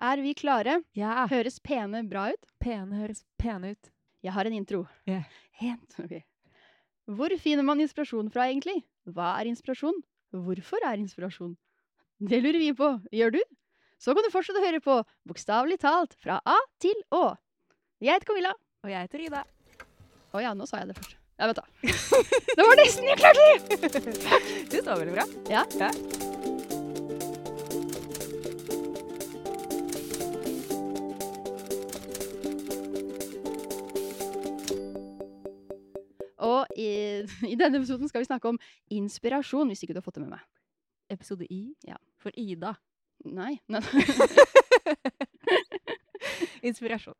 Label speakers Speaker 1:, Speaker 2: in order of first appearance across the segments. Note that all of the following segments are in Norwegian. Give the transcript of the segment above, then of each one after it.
Speaker 1: Er vi klare?
Speaker 2: Ja.
Speaker 1: Høres pene bra ut?
Speaker 2: Pene høres pene ut.
Speaker 1: Jeg har en intro.
Speaker 2: Ja.
Speaker 1: Hent, ok. Hvor finner man inspirasjon fra, egentlig? Hva er inspirasjon? Hvorfor er inspirasjon? Det lurer vi på. Gjør du? Så kan du fortsette å høre på Bokstavelig talt fra A til Å. Jeg heter Camilla.
Speaker 2: Og jeg heter Ida.
Speaker 1: Å ja, nå sa jeg det først. Ja, vent, da. Det var nesten jeg klarte det!
Speaker 2: Du står veldig bra.
Speaker 1: Ja. Og i, i denne episoden skal vi snakke om inspirasjon, hvis ikke du har fått det med meg.
Speaker 2: Episode I
Speaker 1: Ja.
Speaker 2: for Ida.
Speaker 1: Nei. nei.
Speaker 2: Inspirasjon.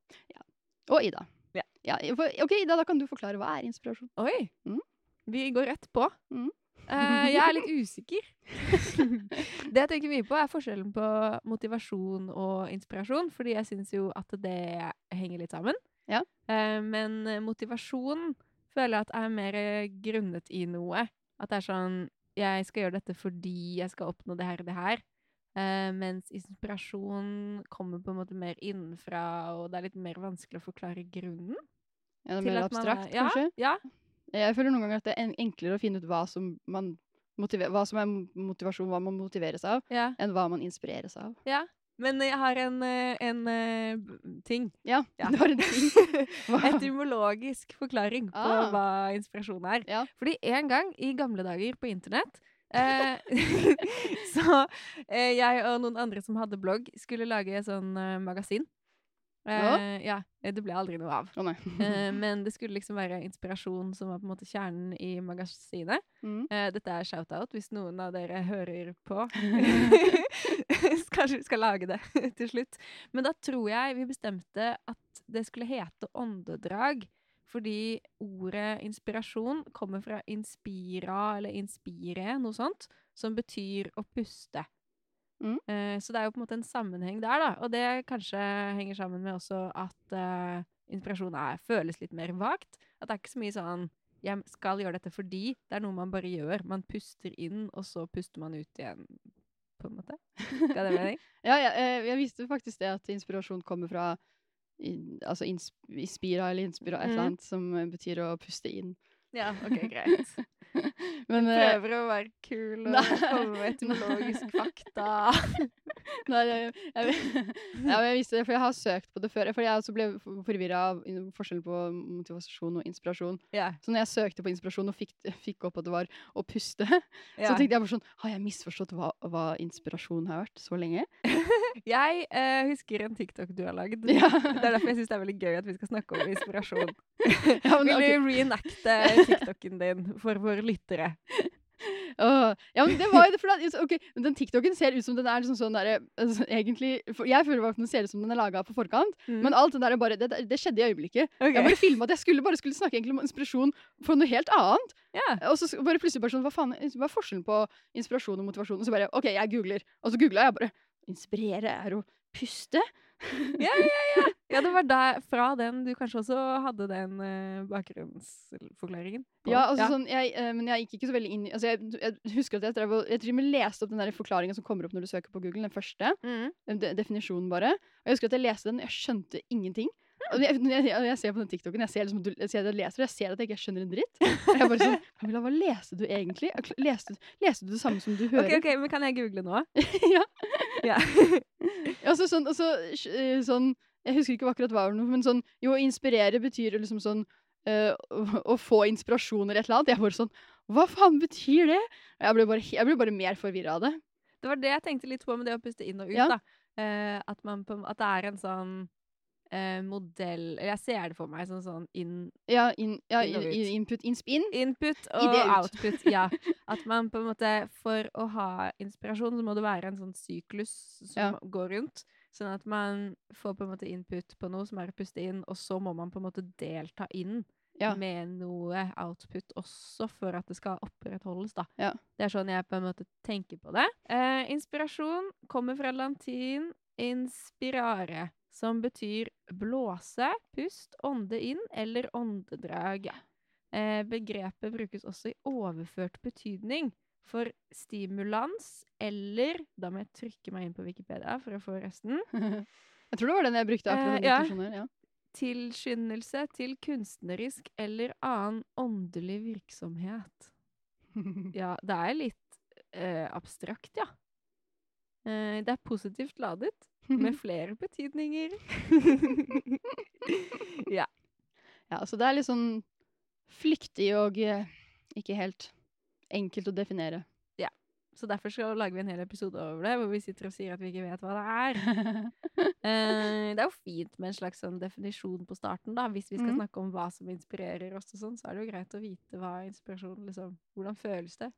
Speaker 1: Og Ida.
Speaker 2: Ja.
Speaker 1: for, ok, Ida, da kan du forklare. Hva er inspirasjon?
Speaker 2: Oi.
Speaker 1: Mm.
Speaker 2: Vi går rett på.
Speaker 1: Mm.
Speaker 2: Eh, jeg er litt usikker. det jeg tenker mye på, er forskjellen på motivasjon og inspirasjon. Fordi jeg syns jo at det henger litt sammen.
Speaker 1: Ja.
Speaker 2: Eh, men motivasjon føler jeg at er mer grunnet i noe. At det er sånn Jeg skal gjøre dette fordi jeg skal oppnå det her og det her. Eh, mens inspirasjon kommer på en måte mer innenfra, og det er litt mer vanskelig å forklare grunnen.
Speaker 1: Ja, det er
Speaker 2: til
Speaker 1: mer
Speaker 2: at man er-
Speaker 1: abstrakt,
Speaker 2: ja,
Speaker 1: kanskje?
Speaker 2: Ja,
Speaker 1: Jeg føler noen ganger at det er en- enklere å finne ut hva som, man motive- hva som er motivasjon, hva man motiveres av,
Speaker 2: ja.
Speaker 1: enn hva man inspireres av.
Speaker 2: Men jeg har en, eh, en eh, b- ting.
Speaker 1: Ja,
Speaker 2: Ja.
Speaker 1: det var en ting. Hva-
Speaker 2: Etymologisk forklaring på
Speaker 1: Ah.
Speaker 2: hva inspirasjon er.
Speaker 1: Ja.
Speaker 2: Fordi en gang i gamle dager på internett eh, Så eh, jeg og noen andre som hadde blogg, skulle lage et sånn eh, magasin. Eh, ja. Det ble aldri noe av.
Speaker 1: Å nei.
Speaker 2: Eh, men det skulle liksom være inspirasjon som var på en måte kjernen i magasinet.
Speaker 1: Mm.
Speaker 2: Eh, dette er shout-out hvis noen av dere hører på. Kanskje vi skal lage det til slutt. Men da tror jeg vi bestemte at det skulle hete åndedrag. Fordi ordet inspirasjon kommer fra inspira eller inspire, noe sånt, som betyr å puste.
Speaker 1: Mm.
Speaker 2: Eh, så det er jo på en måte en sammenheng der, da. Og det kanskje henger sammen med også at eh, inspirasjon er, føles litt mer vagt. At det er ikke så mye sånn jeg skal gjøre dette fordi det er noe man bare gjør. Man puster inn, og så puster man ut igjen, på en måte. Ga det mening?
Speaker 1: Ja, ja, eh, jeg visste faktisk det at inspirasjon kommer fra i- altså ins inspira eller inspira, et eller
Speaker 2: Mhm.
Speaker 1: annet som eh, betyr å puste inn.
Speaker 2: Ja, ok, greit.
Speaker 1: Men eh,
Speaker 2: Prøver å være kul og
Speaker 1: Nei.
Speaker 2: komme med etymologisk fakta.
Speaker 1: nei, jeg, jeg, ja, men jeg visste det, for jeg har søkt på det før. Fordi jeg også ble forvirra av in- forskjellen på motivasjon og inspirasjon.
Speaker 2: Ja,
Speaker 1: Så når jeg søkte på inspirasjon og fikk, fikk opp at det var å puste, så
Speaker 2: ja.
Speaker 1: tenkte jeg bare sånn Har jeg misforstått hva, hva inspirasjon har vært så lenge?
Speaker 2: Jeg eh, husker en TikTok du har lagd.
Speaker 1: Ja.
Speaker 2: Det er derfor jeg syns det er veldig gøy at vi skal snakke om inspirasjon.
Speaker 1: Ja, men,
Speaker 2: Vil
Speaker 1: ok.
Speaker 2: du reenacte TikToken din for våre lyttere?
Speaker 1: Åh, ja, men det var jo det, for da, ok, men Den TikToken ser ut som den er liksom sånn der, altså, egentlig, for Jeg føler bare at den ser ut som den er laga på forkant,
Speaker 2: Mm.
Speaker 1: men alt det der er bare det, det skjedde i øyeblikket. Jeg
Speaker 2: Ok.
Speaker 1: bare filma at jeg skulle bare skulle snakke egentlig om inspirasjon for noe helt annet.
Speaker 2: Ja.
Speaker 1: Og så s- bare plutselig bare sånn Hva faen hva er forskjellen på inspirasjon og motivasjon? Og så bare OK, jeg googler. Og så googla jeg bare Inspirere er å puste?
Speaker 2: Ja, det var der, fra den du kanskje også hadde den eh, bakgrunnsforklaringen. på.
Speaker 1: Ja, altså sånn jeg, eh, Men jeg gikk ikke så veldig inn i altså, jeg, jeg husker at jeg drev og Jeg tror jeg leste opp den der forklaringa som kommer opp når du søker på Google, den første.
Speaker 2: Mm.
Speaker 1: den de definisjonen bare. Og jeg husker at jeg leste den, og jeg skjønte ingenting. Og jeg, når jeg, når jeg ser på den TikToken, jeg ser, liksom, du, jeg ser at jeg leser, og jeg ser at jeg ikke skjønner en dritt. Og jeg bare sånn, Camilla, hva leste du egentlig? Jeg kl- Leste, leste du det samme som du
Speaker 2: Ok,
Speaker 1: hører?
Speaker 2: ok, men kan jeg google nå?
Speaker 1: ja.
Speaker 2: Ja.
Speaker 1: Og så sånn, og så, eh, sånn, jeg husker ikke akkurat hva det var, noe, men sånn, jo, å inspirere betyr jo liksom sånn, eh, å- å få inspirasjon eller et eller annet. Jeg bare sånn, hva faen betyr det? Og Jeg ble bare, he- jeg ble bare mer forvirret av det.
Speaker 2: Det var det jeg tenkte litt på med det å puste inn og ut.
Speaker 1: Ja.
Speaker 2: da. Eh, at, man på, at det er en sånn eh, modell eller Jeg ser det for meg som sånn in,
Speaker 1: Ja, in, ja
Speaker 2: Inn og
Speaker 1: i-
Speaker 2: ut.
Speaker 1: i- input, in-spin.
Speaker 2: input
Speaker 1: Mm. I
Speaker 2: og
Speaker 1: det ut.
Speaker 2: output. Ja. At man på en måte For å ha inspirasjon så må det være en sånn syklus som
Speaker 1: Ja.
Speaker 2: går rundt. Sånn at man får på en måte input på noe som er å puste inn, og så må man på en måte delta inn
Speaker 1: Ja.
Speaker 2: med noe output også for at det skal opprettholdes, da.
Speaker 1: Ja.
Speaker 2: Det er sånn jeg på en måte tenker på det. Eh, inspirasjon kommer fra latin inspirare, som betyr blåse, pust, ånde inn eller åndedrag. Eh, begrepet brukes også i overført betydning. For stimulans, eller Da må jeg trykke meg inn på Wikipedia for å få resten.
Speaker 1: Jeg tror det var den jeg brukte akkurat
Speaker 2: Eh,
Speaker 1: den
Speaker 2: ja.
Speaker 1: definisjonen her, ja.
Speaker 2: Tilskyndelse til kunstnerisk eller annen åndelig virksomhet. Ja, det er litt eh, abstrakt, ja. Eh, det er positivt ladet, med flere betydninger. ja.
Speaker 1: ja, så det er litt sånn flyktig og eh, ikke helt enkelt å definere.
Speaker 2: Så derfor skal lager vi en hel episode over det, hvor vi sitter og sier at vi ikke vet hva det er. Eh, det er jo fint med en slags sånn definisjon på starten, da. Hvis vi skal
Speaker 1: Mhm.
Speaker 2: snakke om hva som inspirerer oss og sånn, så er det jo greit å vite hva inspirasjon liksom Hvordan føles det?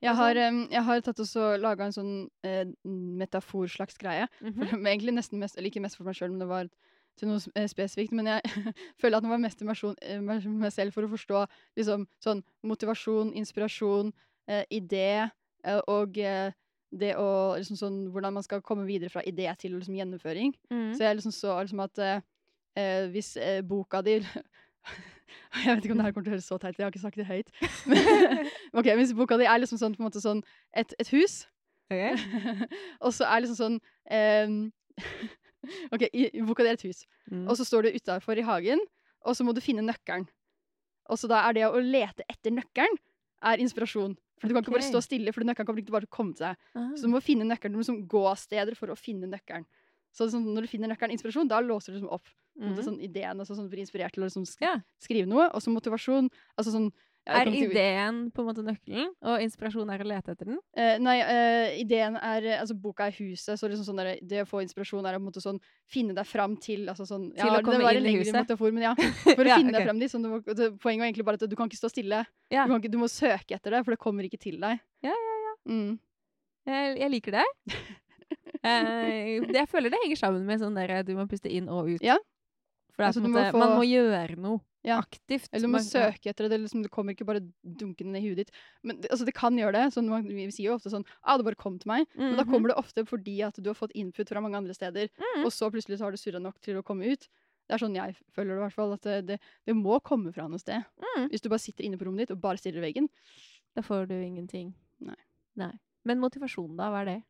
Speaker 1: Jeg
Speaker 2: Og
Speaker 1: har, em, jeg har tatt også laga en sånn eh, metaforslags greie.
Speaker 2: Mhm.
Speaker 1: For, men egentlig nesten mest, eller ikke mest for meg sjøl, men det var til noe s- eh, spesifikt. Men jeg føler at det var mest til meg sjon- eh, meg, meg selv for å forstå liksom, sånn motivasjon, inspirasjon, eh, idé eh, og eh, det å, liksom, sånn, hvordan man skal komme videre fra idé til liksom, gjennomføring.
Speaker 2: Mm.
Speaker 1: Så jeg liksom så liksom at eh, eh, hvis eh, boka di Jeg vet ikke om det her kommer til å høres så teit ut, jeg har ikke sagt det høyt. Men, ok, Hvis boka di er liksom sånn, på en måte sånn et, et hus,
Speaker 2: Ok.
Speaker 1: og så er liksom sånn em, Ok, i, i boka di er et hus,
Speaker 2: Mm.
Speaker 1: og så står du utafor i hagen, og så må du finne nøkkelen. Og så da er det å lete etter nøkkelen er inspirasjon. For Du kan ikke bare
Speaker 2: Ok.
Speaker 1: stå stille, for nøkkelen kommer ikke til bare til å komme til deg.
Speaker 2: Ah.
Speaker 1: Så du må finne nøkkelen. Du må liksom gå av steder for å finne nøkkelen. Så liksom, når du finner nøkkelen inspirasjon, da låser du liksom opp på en måte
Speaker 2: Mhm.
Speaker 1: sånn, ideen. Altså, sånn, du blir inspirert til å liksom, sk
Speaker 2: Ja.
Speaker 1: skrive noe. Og så motivasjon. Altså sånn ja, jeg
Speaker 2: Er
Speaker 1: kommer til-
Speaker 2: ideen på en måte nøkkelen, og inspirasjon er å lete etter den?
Speaker 1: Eh, nei, eh, ideen er eh, Altså, boka er huset, så liksom sånn der, det å få inspirasjon er å på en måte sånn finne deg fram til altså sånn,
Speaker 2: Til å
Speaker 1: det
Speaker 2: komme
Speaker 1: var en
Speaker 2: inn i
Speaker 1: lengre
Speaker 2: huset.
Speaker 1: Metafor, men ja, for å
Speaker 2: Ja,
Speaker 1: finne deg
Speaker 2: ok.
Speaker 1: fram dit. Sånn, du må, det, poenget var egentlig bare at du kan ikke stå stille.
Speaker 2: Ja.
Speaker 1: Du, kan ikke, du må søke etter det, for det kommer ikke til deg.
Speaker 2: Ja,
Speaker 1: Mm.
Speaker 2: Jeg, jeg liker det. Eh, det- jeg føler det henger sammen med sånn der du må puste inn og ut.
Speaker 1: Ja.
Speaker 2: For det er
Speaker 1: Altså,
Speaker 2: på en
Speaker 1: du må
Speaker 2: måte,
Speaker 1: få-
Speaker 2: man må gjøre noe
Speaker 1: Ja.
Speaker 2: aktivt.
Speaker 1: Eller du må
Speaker 2: Man-
Speaker 1: søke etter det. Det, er liksom, det kommer ikke bare dunkende ned i huet ditt. Men det, altså, det kan gjøre det. Sånn, man, vi sier jo ofte sånn ah, 'Det bare kom til meg.' Men da
Speaker 2: Mhm.
Speaker 1: kommer det ofte fordi at du har fått input fra mange andre steder,
Speaker 2: Mhm.
Speaker 1: og så plutselig så har du surra nok til å komme ut. Det er sånn jeg føler det, i hvert fall. At det, det, det må komme fra noe sted.
Speaker 2: Mhm.
Speaker 1: Hvis du bare sitter inne på rommet ditt og bare stirrer i veggen.
Speaker 2: Da får du ingenting.
Speaker 1: Nei.
Speaker 2: Nei. Men motivasjon, da? Hva er det?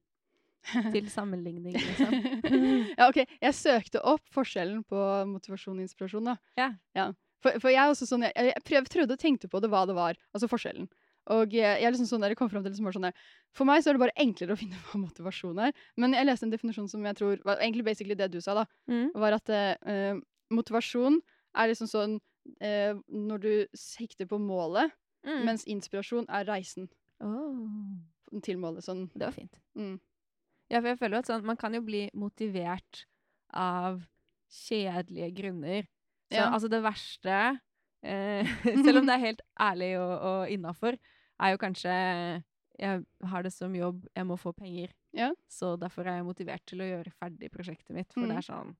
Speaker 2: Til sammenligning, liksom.
Speaker 1: ja, OK. Jeg søkte opp forskjellen på motivasjon og inspirasjon, da.
Speaker 2: Ja.
Speaker 1: For, for jeg er også sånn, jeg, jeg prøv, prøvde og tenkte på det, hva det var, altså forskjellen. Og eh, jeg er liksom sånn der, jeg kom frem til liksom bare sånn der, For meg så er det bare enklere å finne hva motivasjon er. Men jeg leste en definisjon som jeg tror var egentlig basically det du sa, da.
Speaker 2: Mm.
Speaker 1: Var at eh, eh, motivasjon er liksom sånn eh, når du sikter på målet,
Speaker 2: Mm.
Speaker 1: mens inspirasjon er reisen
Speaker 2: Åh.
Speaker 1: til målet. Sånn.
Speaker 2: Det var fint.
Speaker 1: Mm.
Speaker 2: Ja, for jeg føler jo at sånn, man kan jo bli motivert av kjedelige grunner. Så
Speaker 1: Ja.
Speaker 2: altså det verste, eh, selv om det er helt ærlig og, og innafor, er jo kanskje jeg har det som jobb, jeg må få penger.
Speaker 1: Ja.
Speaker 2: Så derfor er jeg motivert til å gjøre ferdig prosjektet mitt. For
Speaker 1: Mm.
Speaker 2: det er sånn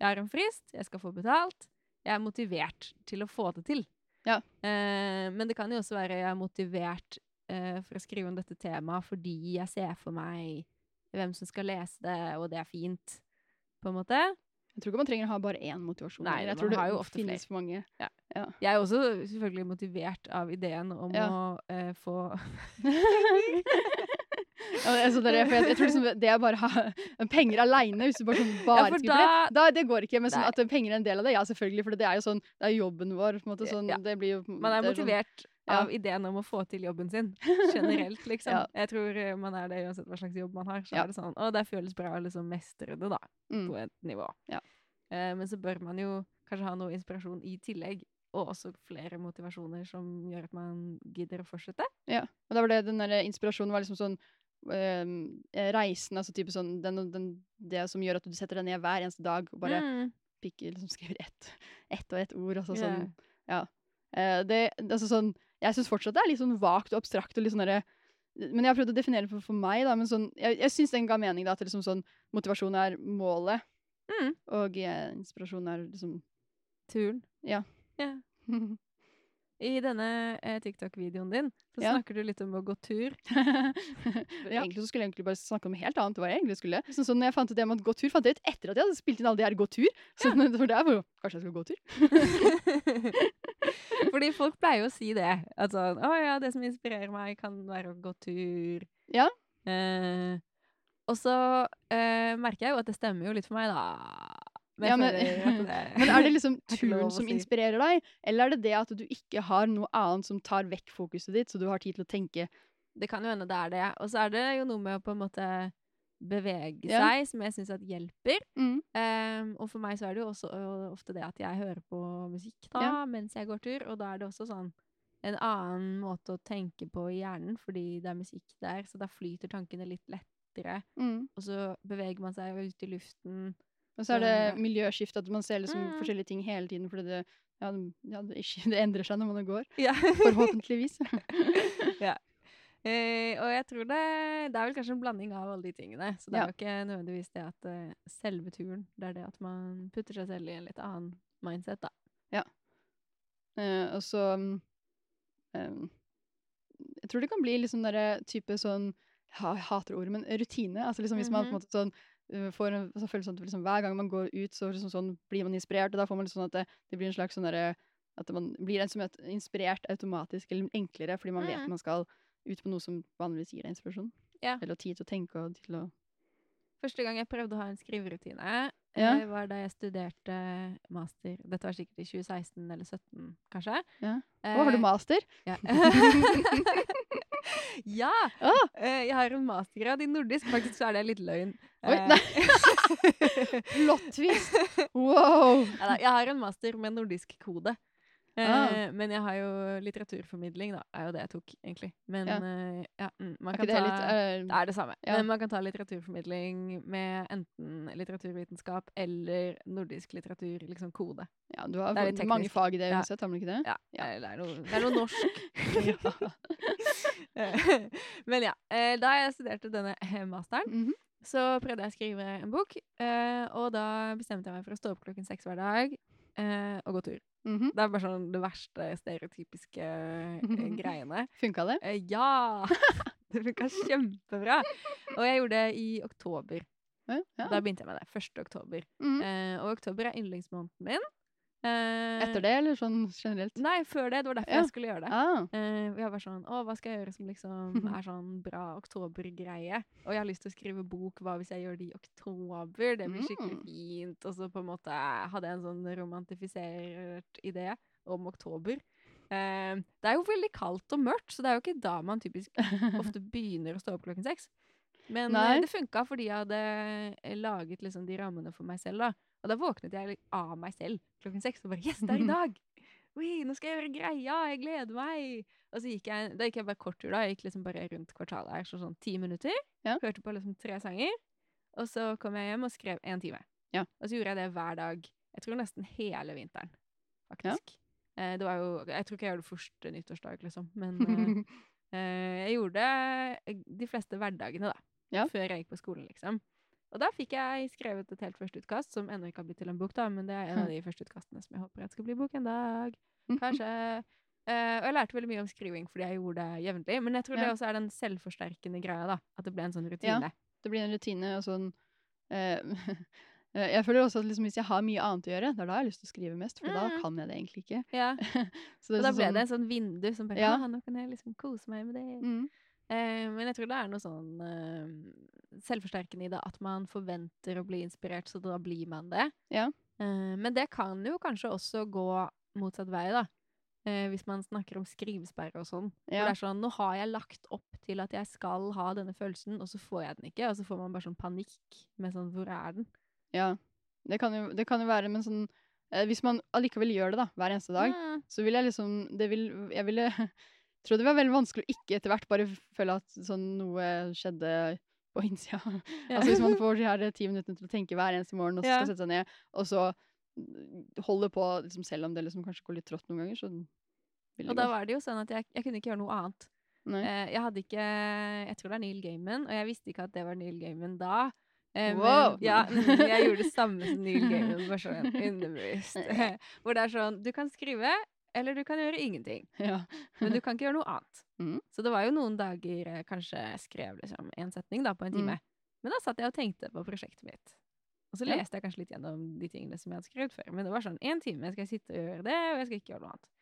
Speaker 2: Jeg har en frist, jeg skal få betalt. Jeg er motivert til å få det til.
Speaker 1: Ja.
Speaker 2: Eh, men det kan jo også være jeg er motivert eh, for å skrive om dette temaet fordi jeg ser for meg hvem som skal lese det, og det er fint, på en måte.
Speaker 1: Jeg tror ikke man trenger å ha bare én motivasjon. eller.
Speaker 2: Nei,
Speaker 1: jeg
Speaker 2: man
Speaker 1: tror det
Speaker 2: har jo ofte
Speaker 1: finnes for mange.
Speaker 2: Jeg er også selvfølgelig motivert av ideen om
Speaker 1: Ja.
Speaker 2: å eh, få
Speaker 1: Ja, men altså, det, er, for jeg, jeg tror liksom det å bare ha penger aleine Hvis du bare, sånn, bare
Speaker 2: Ja, for
Speaker 1: skal gjøre det, da, det går ikke. Men sånn
Speaker 2: Nei.
Speaker 1: at penger er en del av det, ja, selvfølgelig. For det er jo sånn, det er jo jobben vår. på en måte, sånn,
Speaker 2: Ja.
Speaker 1: det blir jo,
Speaker 2: Man er
Speaker 1: det sånn-
Speaker 2: motivert
Speaker 1: ja.
Speaker 2: av ideen om å få til jobben sin, generelt, liksom.
Speaker 1: Ja.
Speaker 2: Jeg tror eh, man er det uansett hva slags jobb man har. Så
Speaker 1: Ja.
Speaker 2: er det sånn Å, det føles bra å liksom mestre det, da,
Speaker 1: Mm.
Speaker 2: på et nivå.
Speaker 1: Ja.
Speaker 2: Eh, men så bør man jo kanskje ha noe inspirasjon i tillegg. Og også flere motivasjoner som gjør at man gidder å fortsette.
Speaker 1: Og da var det den der inspirasjonen var liksom sånn øhm, eh, Reisen, altså type sånn den, og den, Det som gjør at du setter deg ned hver eneste dag og bare
Speaker 2: Mm.
Speaker 1: pikker, liksom skriver ett ett og ett ord. Altså,
Speaker 2: Ja.
Speaker 1: sånn, eh, det, altså, sånn, jeg syns fortsatt det er litt sånn vagt og abstrakt. Og litt sånn derre- men jeg har prøvd å definere det for, for meg. Da, men sånn, jeg jeg syns den ga mening. Da, at liksom sånn, motivasjon er målet,
Speaker 2: Mm.
Speaker 1: og eh, inspirasjon er liksom
Speaker 2: Turen.
Speaker 1: Ja.
Speaker 2: I denne eh, TikTok-videoen din så
Speaker 1: Ja.
Speaker 2: snakker du litt om å gå tur. Ja.
Speaker 1: Egentlig så skulle jeg egentlig bare snakke om noe helt annet. hva jeg egentlig skulle. Sånn, så når jeg fant ut det med å gå tur, fant jeg ut etter at jeg hadde spilt inn alle de her gå tur. Så for det er jo, kanskje jeg skulle gå tur.
Speaker 2: Fordi folk pleier jo å si det. At sånn Å ja, det som inspirerer meg, kan være å gå tur.
Speaker 1: Ja.
Speaker 2: Eh, og så eh, merker jeg jo at det stemmer jo litt for meg, da. Men,
Speaker 1: Ja, men-
Speaker 2: jeg føler at
Speaker 1: Men er det liksom
Speaker 2: er ikke lov
Speaker 1: turen
Speaker 2: å
Speaker 1: som
Speaker 2: si.
Speaker 1: inspirerer deg, eller er det det at du ikke har noe annet som tar vekk fokuset ditt, så du har tid til å tenke?
Speaker 2: Det kan jo hende det er det. Og så er det jo noe med å på en måte bevege
Speaker 1: Ja.
Speaker 2: seg, som jeg syns at hjelper.
Speaker 1: Mm.
Speaker 2: Ehm, og for meg så er det jo også ø, ofte det at jeg hører på musikk da,
Speaker 1: Ja.
Speaker 2: mens jeg går tur, og da er det også sånn en annen måte å tenke på i hjernen, fordi det er musikk der, så da flyter tankene litt lettere,
Speaker 1: Mm.
Speaker 2: og så beveger man seg jo ut i luften.
Speaker 1: Og så er
Speaker 2: Det-
Speaker 1: det miljøskift, at man ser liksom
Speaker 2: Mm.
Speaker 1: forskjellige ting hele tiden, fordi det, ja, det- ja, det, ikke- det endrer seg når man går.
Speaker 2: Ja.
Speaker 1: Forhåpentligvis.
Speaker 2: Eh, og jeg tror det, det er vel kanskje en blanding av alle de tingene, så det
Speaker 1: Ja.
Speaker 2: er jo ikke nødvendigvis det at eh, selve turen, det er det at man putter seg selv i en litt annen mindset da.
Speaker 1: Eh, og så mm, em, Jeg tror det kan bli litt sånn derre type sånn ha, Jeg hater ordet, men rutine. Altså liksom Hvis man på en
Speaker 2: Mhm.
Speaker 1: måte sånn eh, får en så følelse at liksom, hver gang man går ut, så liksom sånn, blir man inspirert. Og da får man litt sånn at det, det blir en slags sånn derre At man blir en som er inspirert automatisk, eller enklere, fordi man vet
Speaker 2: Mhm.
Speaker 1: man skal ut på noe som vanligvis gir deg inspirasjon.
Speaker 2: Ja.
Speaker 1: Eller tid til å tenke og til å
Speaker 2: Første gang jeg prøvde å ha en skriverutine,
Speaker 1: Ja.
Speaker 2: eh, var da jeg studerte master. Dette var sikkert i 2016 eller 2017, kanskje. Eh,
Speaker 1: Ja. Å, har du master?
Speaker 2: Ja. ja!
Speaker 1: Ah!
Speaker 2: Eh, jeg har en mastergrad i nordisk. Faktisk så er det litt løgn.
Speaker 1: Oi,
Speaker 2: Eh,
Speaker 1: nei. Plot twist! Wow!
Speaker 2: ja da, jeg har en master med nordisk kode. Eh,
Speaker 1: Ah.
Speaker 2: Men jeg har jo litteraturformidling, da. Er jo det jeg tok, egentlig. Men
Speaker 1: Ja.
Speaker 2: eh, ja, mm, man
Speaker 1: Er
Speaker 2: kan
Speaker 1: ikke det
Speaker 2: ta
Speaker 1: litt eh,
Speaker 2: Det er det samme.
Speaker 1: Ja.
Speaker 2: Men man kan ta litteraturformidling med enten litteraturvitenskap eller nordisk litteratur, liksom kode.
Speaker 1: Ja, du har
Speaker 2: det er litt
Speaker 1: fått mange
Speaker 2: teknisk.
Speaker 1: fag i det
Speaker 2: Ja.
Speaker 1: uansett, har man ikke det?
Speaker 2: Ja,
Speaker 1: Ja.
Speaker 2: eh, Det, er noe, det er noe norsk. Eh, Men ja. eh, Da jeg studerte denne eh, masteren,
Speaker 1: Mhm.
Speaker 2: så prøvde jeg å skrive en bok. eh, Og da bestemte jeg meg for å stå opp klokken seks hver dag eh, og gå tur.
Speaker 1: Mhm.
Speaker 2: Det er bare sånn det verste stereotypiske eh, greiene.
Speaker 1: Funka det?
Speaker 2: Eh, Ja! Det funka kjempebra. Og jeg gjorde det i oktober.
Speaker 1: Ja. ja.
Speaker 2: Da begynte jeg med det. 1. oktober.
Speaker 1: Mhm.
Speaker 2: Eh, og oktober er yndlingsmåneden min. Eh,
Speaker 1: Etter det, eller sånn generelt?
Speaker 2: Nei, før det. Det var derfor
Speaker 1: Ja.
Speaker 2: jeg skulle gjøre det.
Speaker 1: Ah,
Speaker 2: Eh, og jeg var sånn Å, hva skal jeg gjøre som liksom er sånn bra oktobergreie? Og jeg har lyst til å skrive bok. Hva hvis jeg gjør det i oktober? Det blir skikkelig
Speaker 1: Mm.
Speaker 2: fint. Og så på en måte hadde jeg en sånn romantifisert idé om oktober. Eh, det er jo veldig kaldt og mørkt, så det er jo ikke da man typisk ofte begynner å stå opp klokken seks. Men eh,
Speaker 1: Nei.
Speaker 2: det funka fordi jeg hadde eh, laget liksom de rammene for meg selv. da. Og da våknet jeg litt av meg selv klokken seks og bare Yes, det er i dag! Oi, nå skal jeg gjøre greia! Jeg gleder meg! Og så gikk jeg, da gikk jeg bare kort tur, da. Jeg gikk liksom bare rundt kvartalet her, så sånn ti minutter.
Speaker 1: Ja.
Speaker 2: Hørte på liksom tre sanger. Og så kom jeg hjem og skrev én time.
Speaker 1: Ja.
Speaker 2: Og så gjorde jeg det hver dag. Jeg tror nesten hele vinteren, faktisk. Eh, det var jo, jeg tror ikke jeg gjorde det første nyttårsdag, liksom. Men eh, Eh, jeg gjorde eh, de fleste hverdagene, da.
Speaker 1: Ja.
Speaker 2: Før jeg gikk på skolen, liksom. Og da fikk jeg skrevet et helt første utkast, som ennå ikke har blitt til en bok, da, men det er en av de første utkastene som jeg håper at skal bli bok en dag. Kanskje. Eh, og jeg lærte veldig mye om skriving fordi jeg gjorde det jevnlig. Men jeg tror det
Speaker 1: Ja.
Speaker 2: også er den selvforsterkende greia, da. At det ble en sånn
Speaker 1: Ja.
Speaker 2: rutine.
Speaker 1: det blir en rutine og sånn eh, eh, Jeg føler også at liksom, hvis jeg har mye annet å gjøre, det er da jeg har lyst til å skrive mest, for da
Speaker 2: Mm.
Speaker 1: kan jeg det egentlig ikke.
Speaker 2: Ja.
Speaker 1: Så
Speaker 2: Og da ble
Speaker 1: sånn-
Speaker 2: det en sånn vindu som bare
Speaker 1: Ja.
Speaker 2: Ja, nå kan jeg liksom kose meg med det.
Speaker 1: mm,
Speaker 2: Eh, men jeg tror det er noe sånn eh, selvforsterkende i det at man forventer å bli inspirert, så da blir man det.
Speaker 1: Ja.
Speaker 2: Eh, men det kan jo kanskje også gå motsatt vei, da. Eh, hvis man snakker om skrivesperre og sånn.
Speaker 1: Ja.
Speaker 2: Hvor det er sånn Nå har jeg lagt opp til at jeg skal ha denne følelsen, og så får jeg den ikke. Og så får man bare sånn panikk med sånn Hvor er den?
Speaker 1: ja. Det kan, jo, det kan jo være, men sånn eh, Hvis man allikevel gjør det, da, hver eneste dag,
Speaker 2: Mm.
Speaker 1: så vil jeg liksom det vil, Jeg ville tro det var veldig vanskelig å ikke etter hvert bare føle at sånn noe skjedde på innsida.
Speaker 2: Ja.
Speaker 1: Altså Hvis man får de her ti minuttene til å tenke hver eneste morgen, og så
Speaker 2: Ja.
Speaker 1: skal sette seg ned, og så mm, holde på liksom, selv om det liksom kanskje går litt trått noen ganger, så vil det
Speaker 2: Og
Speaker 1: gå.
Speaker 2: da var det jo sånn at jeg, jeg kunne ikke gjøre noe annet.
Speaker 1: Nei.
Speaker 2: Eh, jeg hadde ikke Jeg tror det er Neil Gaiman, og jeg visste ikke at det var Neil Gaiman da. Eh,
Speaker 1: Wow!
Speaker 2: Men, ja, mm, jeg gjorde det samme som Neil Gaiman, bare sånn underbevisst. Hvor det er sånn Du kan skrive eller du kan gjøre ingenting.
Speaker 1: Ja.
Speaker 2: Men du kan ikke gjøre noe annet.
Speaker 1: Mhm.
Speaker 2: Så det var jo noen dager eh, kanskje jeg skrev liksom en setning da, på en time. Men da satt jeg og tenkte på prosjektet mitt. Og så
Speaker 1: Mm. Ja.
Speaker 2: leste jeg kanskje litt gjennom de tingene som jeg hadde skrevet før. Men det var sånn én time skal jeg sitte og gjøre det, og jeg skal ikke gjøre noe annet.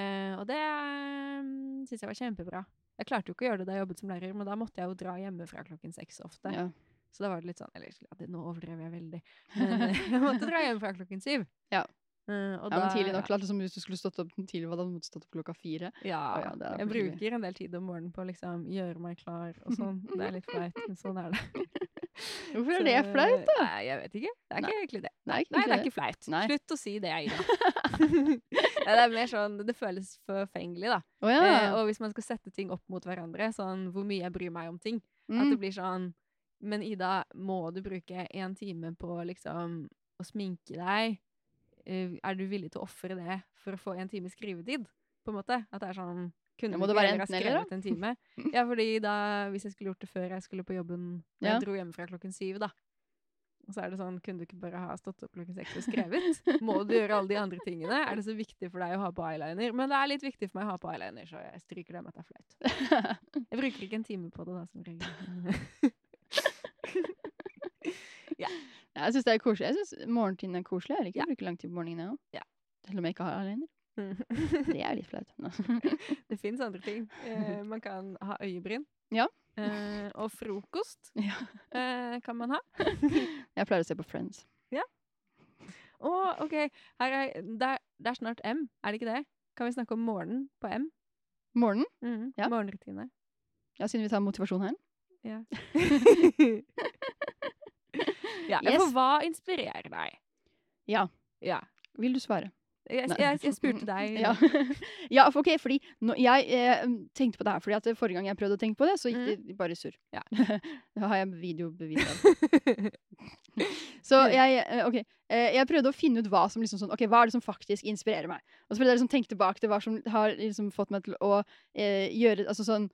Speaker 2: Eh, og det um, syns jeg var kjempebra. Jeg klarte jo ikke å gjøre det da jeg jobbet som lærer, men da måtte jeg jo dra hjemmefra klokken seks ofte.
Speaker 1: Ja.
Speaker 2: Så da var det litt sånn Eller ja, det, nå overdrev jeg veldig. Men eh, jeg måtte dra hjemmefra klokken syv.
Speaker 1: Ja.
Speaker 2: Eh, og
Speaker 1: ja, men
Speaker 2: da-
Speaker 1: tidlig nok. Klart, liksom, hvis du skulle stått opp tidlig, hva da måtte du stått opp klokka fire?
Speaker 2: Ja,
Speaker 1: Å ja, det er
Speaker 2: jeg
Speaker 1: forskjellig.
Speaker 2: bruker en del tid om morgenen på å liksom gjøre meg klar og sånn. Det er litt flaut, men sånn er det.
Speaker 1: Hvorfor er det flaut,
Speaker 2: da? Nei, jeg vet ikke. Det er ikke egentlig det.
Speaker 1: Nei,
Speaker 2: Nei, det er ikke flaut.
Speaker 1: Nei.
Speaker 2: Slutt å si det, Ida. Nei, det er mer sånn Det føles forfengelig, da.
Speaker 1: Å ja.
Speaker 2: Eh, og hvis man skal sette ting opp mot hverandre, sånn hvor mye jeg bryr meg om ting,
Speaker 1: mm.
Speaker 2: at det blir sånn Men Ida, må du bruke en time på liksom å sminke deg? Eh, Er du villig til å ofre det for å få en time skrivetid? På en måte. At det er sånn
Speaker 1: Ja,
Speaker 2: Kunne
Speaker 1: må
Speaker 2: du
Speaker 1: det være
Speaker 2: ikke heller ha
Speaker 1: enten eller,
Speaker 2: skrevet en time? Ja, fordi da, hvis jeg skulle gjort det før jeg skulle på jobben når
Speaker 1: Ja.
Speaker 2: Jeg dro hjemmefra klokken syv, da. Og så er det sånn Kunne du ikke bare ha stått opp klokken seks og skrevet? Må du gjøre alle de andre tingene? Er det så viktig for deg å ha på eyeliner? Men det er litt viktig for meg å ha på eyeliner, så jeg stryker det med at det er flaut. Jeg bruker ikke en time på det, da, som regel.
Speaker 1: Ja, jeg syns det er koselig. Jeg synes morgentiden er koselig. Jeg liker
Speaker 2: Ja.
Speaker 1: å bruke lang tid på morgenen, jeg òg.
Speaker 2: Ja.
Speaker 1: Selv om jeg ikke har alene. Det er litt flaut. men-
Speaker 2: det fins andre ting. Eh, man kan ha øyebryn.
Speaker 1: Ja.
Speaker 2: Eh, og frokost
Speaker 1: Ja.
Speaker 2: eh, kan man ha.
Speaker 1: Jeg pleier å se på Friends.
Speaker 2: Å, OK. Her er, det, er, det er snart M, er det ikke det? Kan vi snakke om morgenen på M?
Speaker 1: Morgenen?
Speaker 2: Mm,
Speaker 1: Ja.
Speaker 2: Morgenrutine.
Speaker 1: Ja, siden vi tar motivasjon her.
Speaker 2: Ja. ja
Speaker 1: Yes.
Speaker 2: For hva inspirerer deg?
Speaker 1: Ja.
Speaker 2: ja.
Speaker 1: Vil du svare?
Speaker 2: Jeg,
Speaker 1: Nei.
Speaker 2: jeg, jeg spurte deg.
Speaker 1: Ja, Mm. ja for ok, fordi nå- jeg eh, tenkte på det her, fordi at forrige gang jeg prøvde å tenke på det, så gikk det bare surr.
Speaker 2: Ja.
Speaker 1: det har jeg videobevis av. Så jeg, eh, ok, eh, jeg prøvde å finne ut hva som liksom sånn, ok, hva er det som faktisk inspirerer meg. Og så prøvde jeg liksom å tenke tilbake til hva som har liksom fått meg til å eh, gjøre, altså sånn,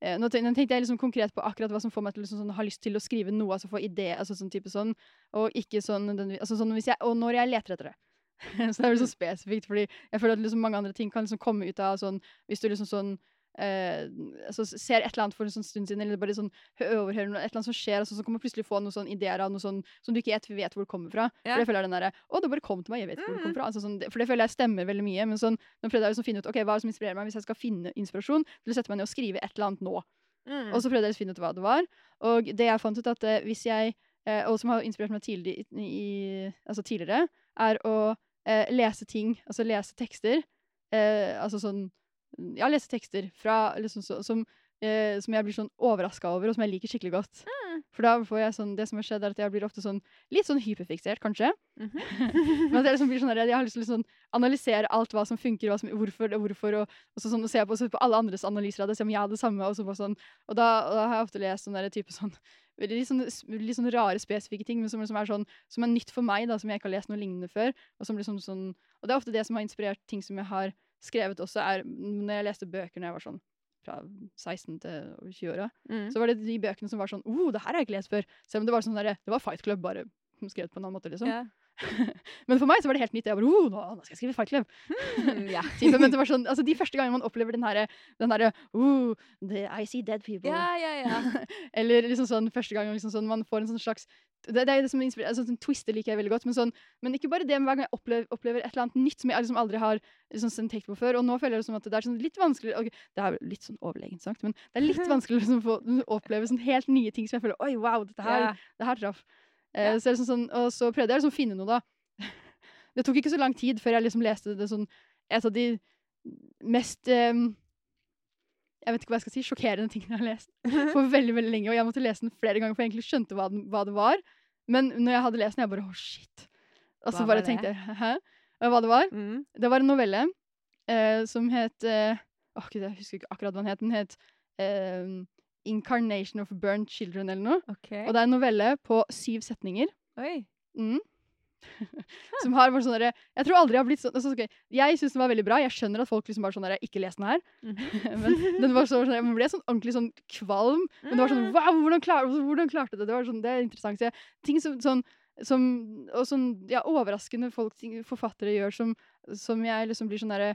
Speaker 1: eh, nå ten- nå tenkte jeg liksom konkret på akkurat hva som får meg til å liksom sånn, ha lyst til å skrive noe, altså få idé, altså sånn type sånn, og ikke sånn, nødvendigvis- altså sånn hvis jeg, og når jeg leter etter det. så det er jo så spesifikt, fordi jeg føler at liksom mange andre ting kan liksom komme ut av sånn, hvis du liksom sånn, eh, altså ser et eller annet for en sånn stund siden, eller bare sånn hø- overhører noe, et eller annet som skjer, altså, så kan man plutselig få noen sånn ideer av noe sånn som du ikke helt vet hvor det kommer fra.
Speaker 2: Ja.
Speaker 1: For jeg føler den derre Å, det bare kom til meg, jeg vet ikke hvor det
Speaker 2: Mhm.
Speaker 1: kom fra. Altså, sånn, det- for det føler jeg stemmer veldig mye. Men sånn, nå prøvde jeg liksom å finne ut ok, hva er det som inspirerer meg hvis jeg skal finne inspirasjon til å sette meg ned og skrive et eller annet nå.
Speaker 2: Mm.
Speaker 1: Og så prøvde jeg å finne ut hva det var. Og det jeg fant ut, at eh, hvis jeg eh, Og som har inspirert meg tidlig, i, i, altså tidligere, er å eh, lese ting, altså lese tekster. Eh, altså sånn Ja, lese tekster fra liksom så, som eh, som jeg blir sånn overraska over, og som jeg liker skikkelig godt. For da får jeg sånn, det som har skjedd er at jeg blir ofte sånn, litt sånn hyperfiksert, kanskje.
Speaker 2: Mm-hmm.
Speaker 1: Men at jeg liksom blir sånn, der, jeg har lyst til å liksom analysere alt hva som funker, hva som, hvorfor, og hvorfor, og, og så sånn, og se på, så på alle andres analyser av det, se om jeg hadde det samme, og så bare sånn. Og da, og da har jeg ofte lest sånne der type sånn, veldig litt sånn, litt sånn rare, spesifikke ting, men som, liksom er sånn, som er nytt for meg, da, som jeg ikke har lest noe lignende før, og som liksom sånn, og det er ofte det som har inspirert ting som jeg har skrevet også, er når jeg leste bøker når jeg var sånn, fra 16 til over 20 år,
Speaker 2: Mm.
Speaker 1: så var det de bøkene som var sånn oh, det her har jeg ikke lest før. Selv om det var sånn der, det var Fight Club, bare skrevet på en annen måte, liksom.
Speaker 2: Ja.
Speaker 1: Men for meg så var det helt nytt. Jeg bare oh, nå, nå skal jeg skrive Fight Club.
Speaker 2: Mm, ja.
Speaker 1: Type, men det var sånn, altså De første gangene man opplever den herre den herre, oh, the, I see dead people.
Speaker 2: Ja, ja, ja.
Speaker 1: Eller liksom sånn første gang liksom sånn, man får en sånn slags det, det er jo det som inspirerer, altså, sånn Twister liker jeg veldig godt, men, sånn, men ikke bare det. Men hver gang jeg opplever, opplever et eller annet nytt som jeg liksom aldri har liksom, sånn tenkt på før. Og nå føler jeg liksom at det er sånn litt vanskelig ok, Det er jo litt sånn overlegent sagt, men det er litt vanskelig å liksom, få oppleve sånn helt nye ting som jeg føler Oi, wow, dette her
Speaker 2: Ja.
Speaker 1: det her traff. Eh,
Speaker 2: Ja.
Speaker 1: så jeg liksom sånn, og så prøvde jeg liksom å finne noe, da. Det tok ikke så lang tid før jeg liksom leste det sånn Et av de mest eh, Jeg vet ikke hva jeg skal si. Sjokkerende tingene jeg har lest for veldig veldig lenge. Og jeg måtte lese den flere ganger, for jeg egentlig skjønte hva, den, hva det var. Men når jeg hadde lest den, jeg bare Å, shit. Og så
Speaker 2: Hva var
Speaker 1: bare
Speaker 2: det?
Speaker 1: tenkte jeg Hæ? Og Hva det var?
Speaker 2: Mm.
Speaker 1: Det var en novelle eh, som het eh, åh, Gud, jeg husker ikke akkurat hva den het. Den het eh, 'Incarnation of Burnt Children' eller noe.
Speaker 2: OK.
Speaker 1: Og det er en novelle på syv setninger.
Speaker 2: Oi.
Speaker 1: Mm. som har bare sånn derre Jeg tror aldri jeg har blitt sånn altså, ok, Jeg syns den var veldig bra. Jeg skjønner at folk liksom bare sånn der Ikke les den her.
Speaker 2: Mm-hmm.
Speaker 1: men den var så, sånn Jeg ble sånn ordentlig sånn kvalm. Men det var sånn
Speaker 2: Ah.
Speaker 1: Wow, hvordan, klar, hvordan klarte du det? Det var sånn Det er interessant. Så jeg, ting som sånn som, og sånn, ja, overraskende folk, ting, forfattere gjør som, som jeg liksom blir sånn derre